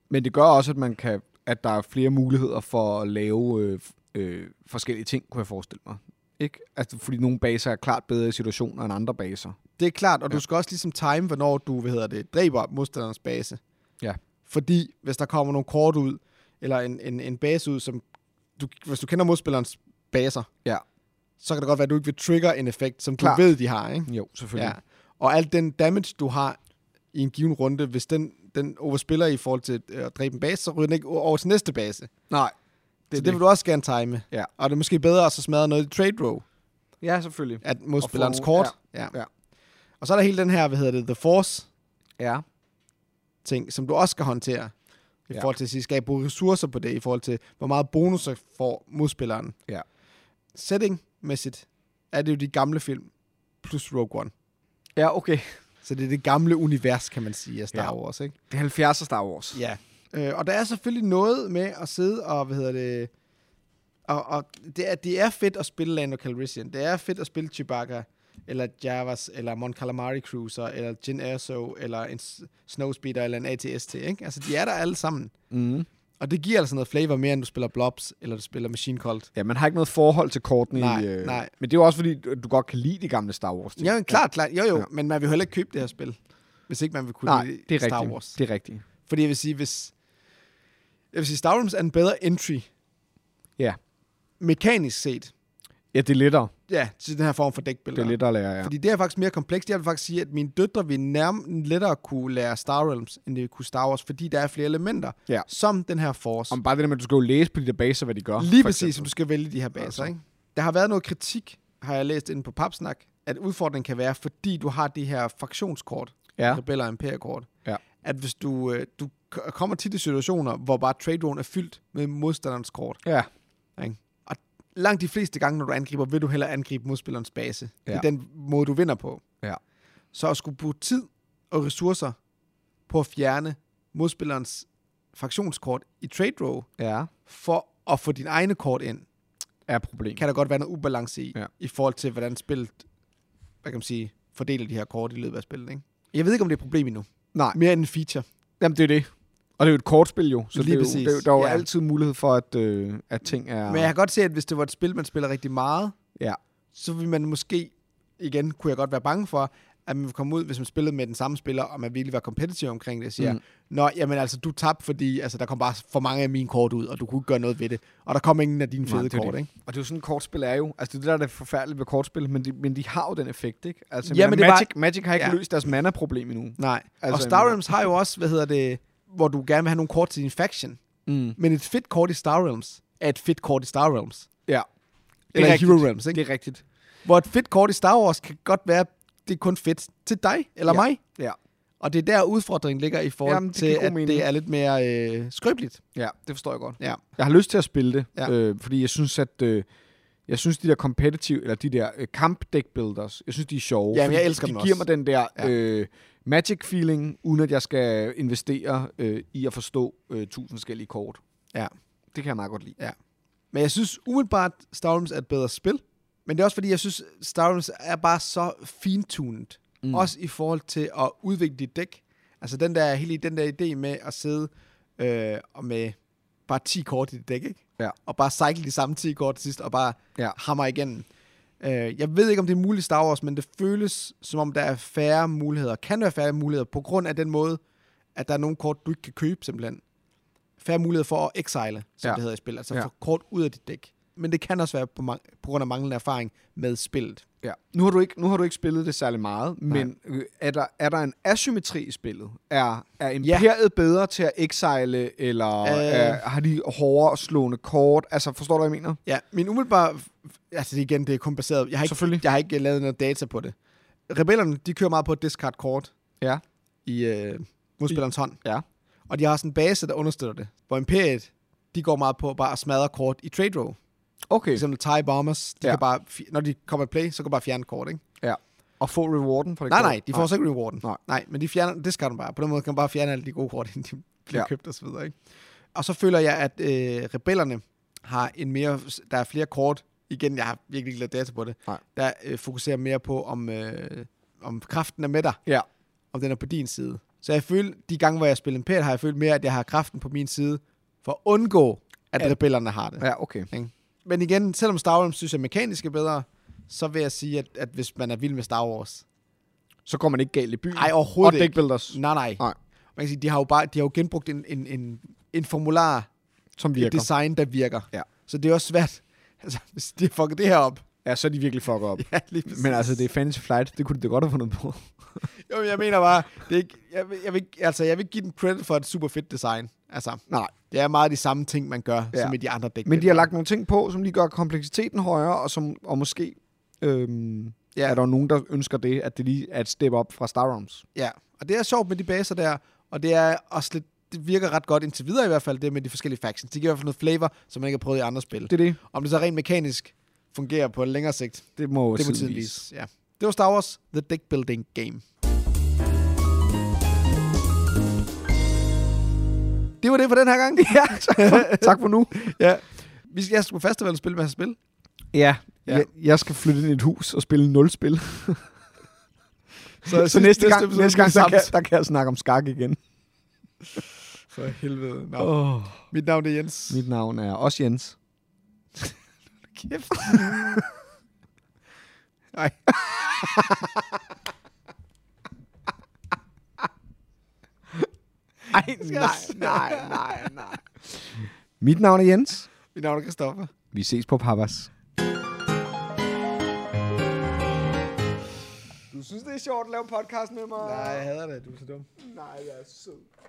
Speaker 2: Men det gør også, at man kan, at der er flere muligheder for at lave øh, f- øh, forskellige ting, kunne jeg forestille mig. Ikke? Altså, fordi nogle baser er klart bedre i situationer end andre baser.
Speaker 1: det er klart, og ja.
Speaker 2: Ja.
Speaker 1: du skal også ligesom time, hvornår du, hvad hedder det, dræber modstanderens base.
Speaker 2: Ja.
Speaker 1: Fordi hvis der kommer nogle kort ud, eller en, en, en base ud, som du, hvis du kender modspillerens baser,
Speaker 2: Ja.
Speaker 1: så kan det godt være, at du ikke vil trigger en effekt, som
Speaker 2: Klart.
Speaker 1: du ved, de har, ikke?
Speaker 2: Jo,
Speaker 1: Ja.
Speaker 2: selvfølgelig.
Speaker 1: Og alt den damage, du har i en given runde, hvis den, den overspiller i forhold til øh, at dræbe en base, så ryger den ikke over til næste base.
Speaker 2: Nej.
Speaker 1: Det,
Speaker 2: Så
Speaker 1: så det vil du også gerne time.
Speaker 2: Ja.
Speaker 1: Og det er måske bedre at så smadre noget i trade row,
Speaker 2: Ja, selvfølgelig.
Speaker 1: at modspillerens
Speaker 2: Og få-
Speaker 1: kort. Ja.
Speaker 2: ja.
Speaker 1: Og så er der hele den her, hvad hedder det, The Force
Speaker 2: Ja.
Speaker 1: ting, som du også skal håndtere. I
Speaker 2: Ja.
Speaker 1: ja. forhold til at sige, skal jeg bruge ressourcer på det, i forhold til, hvor meget bonus får modspilleren.
Speaker 2: Ja.
Speaker 1: Setting-mæssigt er det jo de gamle film, plus Rogue One.
Speaker 2: Ja, okay.
Speaker 1: Så det er det gamle univers, kan man sige, af Star
Speaker 2: Ja.
Speaker 1: Wars, ikke?
Speaker 2: Det er 70'er Star Wars.
Speaker 1: Ja. Øh, og der er selvfølgelig noget med at sidde og, hvad hedder det, og, og det, er, det er fedt at spille Lando Calrissian. Det er fedt at spille Chewbacca, eller Javas, eller Mon Calamari Cruiser, eller Jyn Erso, eller en s- Snowspeeder, eller en ATST, ikke? Altså, de er der alle sammen.
Speaker 2: Mm.
Speaker 1: Og det giver altså noget flavor mere, end du spiller Blobs, eller du spiller Machine Colt.
Speaker 2: Ja, man har ikke noget forhold til kortene.
Speaker 1: Nej,
Speaker 2: i, øh...
Speaker 1: nej.
Speaker 2: Men det er jo også, fordi du du godt kan lide de gamle Star Wars. ting.
Speaker 1: Ja, men klart, klart. Jo, jo,
Speaker 2: Ja.
Speaker 1: ja. men man vil jo heller ikke købe det her spil, hvis ikke man vil kunne
Speaker 2: Nej,
Speaker 1: lide
Speaker 2: det er
Speaker 1: Star
Speaker 2: rigtigt.
Speaker 1: Wars.
Speaker 2: Det er rigtigt.
Speaker 1: Fordi jeg vil sige, hvis... Jeg vil sige, Star Wars er en bedre entry.
Speaker 2: Ja.
Speaker 1: Mekanisk set.
Speaker 2: Ja, det er lettere.
Speaker 1: Ja, til den her form for
Speaker 2: Det
Speaker 1: dækbilleder.
Speaker 2: er lettere at lære, ja.
Speaker 1: Fordi det er faktisk mere komplekst. Jeg vil faktisk sige, at mine døtre vil nærmest lettere kunne lære Star Realms, end de kunne Star Wars, fordi der er flere elementer,
Speaker 2: Ja.
Speaker 1: som den her Force.
Speaker 2: Om bare det der med, at du skal jo læse på de der baser, hvad de gør.
Speaker 1: Lige
Speaker 2: for
Speaker 1: præcis, som
Speaker 2: eksempel.
Speaker 1: du skal vælge de her baser.
Speaker 2: Altså.
Speaker 1: Altså. Ikke? Der har været noget kritik, har jeg læst inde på Papsnak, at udfordringen kan være, fordi du har de her fraktionskort,
Speaker 2: Ja.
Speaker 1: rebeller og imperiekort,
Speaker 2: Ja.
Speaker 1: at hvis du, øh, du k- kommer tit i situationer, hvor bare trade drone er fyldt med modstanderens kort,
Speaker 2: Ja.
Speaker 1: ikke? og langt de fleste gange, når du angriber, vil du hellere angribe modspillerens base. Ja.
Speaker 2: Ja.
Speaker 1: Det er den måde, du vinder på.
Speaker 2: Ja.
Speaker 1: Så at skulle bruge tid og ressourcer på at fjerne modspillerens fraktionskort i trade row,
Speaker 2: Ja.
Speaker 1: for at få dine egne kort ind,
Speaker 2: Er et problem.
Speaker 1: kan der godt være noget ubalance i,
Speaker 2: Ja.
Speaker 1: ja. i forhold til, hvordan spillet, hvad kan man sige, fordeler de her kort i løbet af spillet, ikke? Jeg ved ikke, om det er et problem endnu.
Speaker 2: Nej.
Speaker 1: Mere end en feature.
Speaker 2: Jamen, det er det. Og det er jo et kortspil jo, så
Speaker 1: Lige
Speaker 2: det er jo,
Speaker 1: præcis,
Speaker 2: det er jo, der er jo
Speaker 1: ja.
Speaker 2: altid mulighed for, at, øh, at ting er...
Speaker 1: Men jeg kan godt se, at hvis det var et spil, man spiller rigtig meget,
Speaker 2: Ja.
Speaker 1: så vil man måske igen kunne jeg godt være bange for, at man ville komme ud, hvis man spillede med den samme spiller, og man virkelig var kompetitiv omkring det, og siger, mm. Nå, jamen altså, du tabte, fordi altså, der kom bare for mange af mine kort ud, og du kunne ikke gøre noget ved det. Og der kom ingen af dine fede
Speaker 2: det er jo
Speaker 1: kort,
Speaker 2: det.
Speaker 1: ikke?
Speaker 2: Og det er jo sådan, et kortspil er jo. Altså, det er det, der er det forfærdelige ved kortspil, men de, men de har jo den effekt, ikke? Altså,
Speaker 1: Ja,
Speaker 2: ja,
Speaker 1: men
Speaker 2: men
Speaker 1: det er
Speaker 2: Magic, Magic har ikke
Speaker 1: Ja.
Speaker 2: ja. løst deres mana-problem endnu.
Speaker 1: Nej. Altså,
Speaker 2: Altså,
Speaker 1: og Star
Speaker 2: jamen-
Speaker 1: Realms har jo også, hvad hedder det, hvor du gerne vil have nogle kort til din faction.
Speaker 2: Mm.
Speaker 1: Men et fedt kort i Star Realms er et fedt kort i Star Realms.
Speaker 2: Ja.
Speaker 1: Eller i Hero Realms, ikke?
Speaker 2: Det er rigtigt.
Speaker 1: Hvor et fedt kort i Star Wars kan godt være, det er kun fedt til dig eller
Speaker 2: Ja.
Speaker 1: mig.
Speaker 2: Ja. og
Speaker 1: Og det er der udfordringen ligger i forhold
Speaker 2: Jamen, det
Speaker 1: til,
Speaker 2: giver god
Speaker 1: at
Speaker 2: mening.
Speaker 1: det er lidt mere øh, skrøbeligt.
Speaker 2: Ja, det forstår jeg godt.
Speaker 1: Ja.
Speaker 2: Jeg har lyst til at spille det,
Speaker 1: Ja.
Speaker 2: ja. øh, fordi jeg synes, at... Øh, jeg synes, de der competitive, eller de der øh, kamp deck builders, jeg synes, de er sjove.
Speaker 1: Jamen,
Speaker 2: fordi
Speaker 1: jeg elsker
Speaker 2: de
Speaker 1: dem
Speaker 2: giver
Speaker 1: også.
Speaker 2: mig den der
Speaker 1: Ja.
Speaker 2: ja. øh, magic feeling, uden at jeg skal investere øh, i at forstå øh, tusind forskellige kort.
Speaker 1: Ja.
Speaker 2: Det kan jeg meget godt lide.
Speaker 1: Men jeg synes umiddelbart, Star Realms er et bedre spil. Men det er også fordi, jeg synes, Star Realms er bare så fintunet. Mm. Også i forhold til at udvikle dit dæk. Altså den der, hele den der idé med at sidde øh, og med bare 10 kort i dit dæk, ikke?
Speaker 2: Ja.
Speaker 1: Og bare cycle de samme 10 kort til sidst, og bare ja.
Speaker 2: Ja.
Speaker 1: hammer igennem. Øh, jeg ved ikke, om det er muligt i Star Wars, men det føles, som om der er færre muligheder. Kan være færre muligheder, på grund af den måde, at der er nogle kort, du ikke kan købe, simpelthen. Færre muligheder for at exile, som ja.
Speaker 2: Ja.
Speaker 1: det hedder i spil. Altså ja.
Speaker 2: Ja.
Speaker 1: få kort ud af dit dæk. Men det kan også være på, mang- på grund af manglende erfaring med spillet.
Speaker 2: Ja. Nu har du ikke nu har du ikke spillet det særlig meget, Nej. men øh, er der er der en asymmetri i spillet? Er er imperiet bedre til at exile eller øh. er, har de hårdere slående kort? Altså forstår du hvad jeg mener?
Speaker 1: Ja, min umiddelbare... Altså det er igen, det er kun baseret... Jeg har ikke,
Speaker 2: Selvfølgelig.
Speaker 1: Jeg har ikke øh, lavet noget data på det. Rebellerne, de kører meget på et discard-kort
Speaker 2: Ja.
Speaker 1: i øh, modspillerens hånd.
Speaker 2: Ja.
Speaker 1: Og de har sådan en base, der understøtter det. Hvor Imperiet, de går meget på bare at smadre kort i trade row. For
Speaker 2: Okay.
Speaker 1: eksempel TIE Bombers, de ja.
Speaker 2: Ja.
Speaker 1: kan bare, fi- når de kommer i play, så kan de bare fjerne kort, ikke?
Speaker 2: Ja. Og få rewarden for det.
Speaker 1: Nej,
Speaker 2: kort? Ah.
Speaker 1: nej, de får så ikke rewarden.
Speaker 2: Nej.
Speaker 1: nej men de fjerner, det skal de bare. På den måde kan man bare fjerne alle de gode kort, <laughs> inden de bliver ja.
Speaker 2: Ja.
Speaker 1: købt og så videre, ikke? Og så føler jeg, at øh, rebellerne har en mere, der er flere kort, igen, jeg har virkelig ikke lavet data på det,
Speaker 2: Nej.
Speaker 1: der øh, fokuserer mere på, om, øh, om kraften er med dig,
Speaker 2: Ja.
Speaker 1: om den er på din side. Så jeg føler, de gange, hvor jeg spiller Imperiet, har jeg følt mere, at jeg har kraften på min side, for at undgå, at
Speaker 2: At-
Speaker 1: rebellerne har det.
Speaker 2: Ja, okay.
Speaker 1: Men igen, selvom Star Wars synes jeg mekanisk er bedre, så vil jeg sige, at, at hvis man er vild med Star Wars...
Speaker 2: Så går man ikke galt i byen.
Speaker 1: Nej,
Speaker 2: og
Speaker 1: overhovedet
Speaker 2: deck
Speaker 1: ikke.
Speaker 2: builders,
Speaker 1: Nej, nej.
Speaker 2: Nej.
Speaker 1: Man kan sige, de har jo bare de har jo genbrugt en, en, en, en formular,
Speaker 2: som
Speaker 1: virker. et
Speaker 2: virker.
Speaker 1: design, der virker.
Speaker 2: Ja.
Speaker 1: Så det er også svært. <laughs> Altså, hvis de har fucket det her op. <laughs>
Speaker 2: Ja, så er de virkelig fucker op.
Speaker 1: Ja, lige præcis.
Speaker 2: Men altså, det er Fantasy Flight, det kunne de da godt have fundet på.
Speaker 1: Jo, men jeg mener bare, det er ikke, jeg, vil- jeg, vil, ikke- altså, jeg vil ikke give dem credit for et super fedt design. Altså,
Speaker 2: Nej.
Speaker 1: det er meget de samme ting, man gør, ja.
Speaker 2: Ja.
Speaker 1: som i de andre dæk.
Speaker 2: Men de har lagt nogle ting på, som lige gør kompleksiteten højere, og, som, og måske øhm, ja. er der jo nogen, der ønsker det, at det lige er et step op fra Star Realms.
Speaker 1: Ja, og det er sjovt med de baser der, og det er også lidt, det virker ret godt indtil videre i hvert fald, det med de forskellige factions. Det giver i hvert fald noget flavor, som man ikke har prøvet i andre spil.
Speaker 2: Det er det.
Speaker 1: Om det så rent mekanisk fungerer på længere sigt,
Speaker 2: Det må,
Speaker 1: det må tiden vise. Ja. Det var Star Wars The Deck Building Game. Det var det for den her gang.
Speaker 2: <laughs> Ja, tak for, <laughs> tak for nu.
Speaker 1: ja. Vi skal, jeg skulle festival spille med spil.
Speaker 2: Ja,
Speaker 1: Ja.
Speaker 2: Jeg, jeg skal flytte ind i et hus og spille nul spil.
Speaker 1: Så,
Speaker 2: <laughs> Så, så næste, gang, næste gang der, kan,
Speaker 1: så
Speaker 2: der kan jeg snakke om skak igen.
Speaker 1: For helvede. No.
Speaker 2: Oh.
Speaker 1: Mit navn er Jens.
Speaker 2: Mit navn er også Jens. <laughs>
Speaker 1: Kæft. Nej. <laughs>
Speaker 2: <laughs> Ej, nej, nej, nej. Mit navn er Jens.
Speaker 1: Mit navn er Christoffer.
Speaker 2: Vi ses på Papas.
Speaker 1: Du synes, det er sjovt at lave podcast med mig? Nej, jeg hader det. Du er så dum.
Speaker 2: Nej, jeg er sød.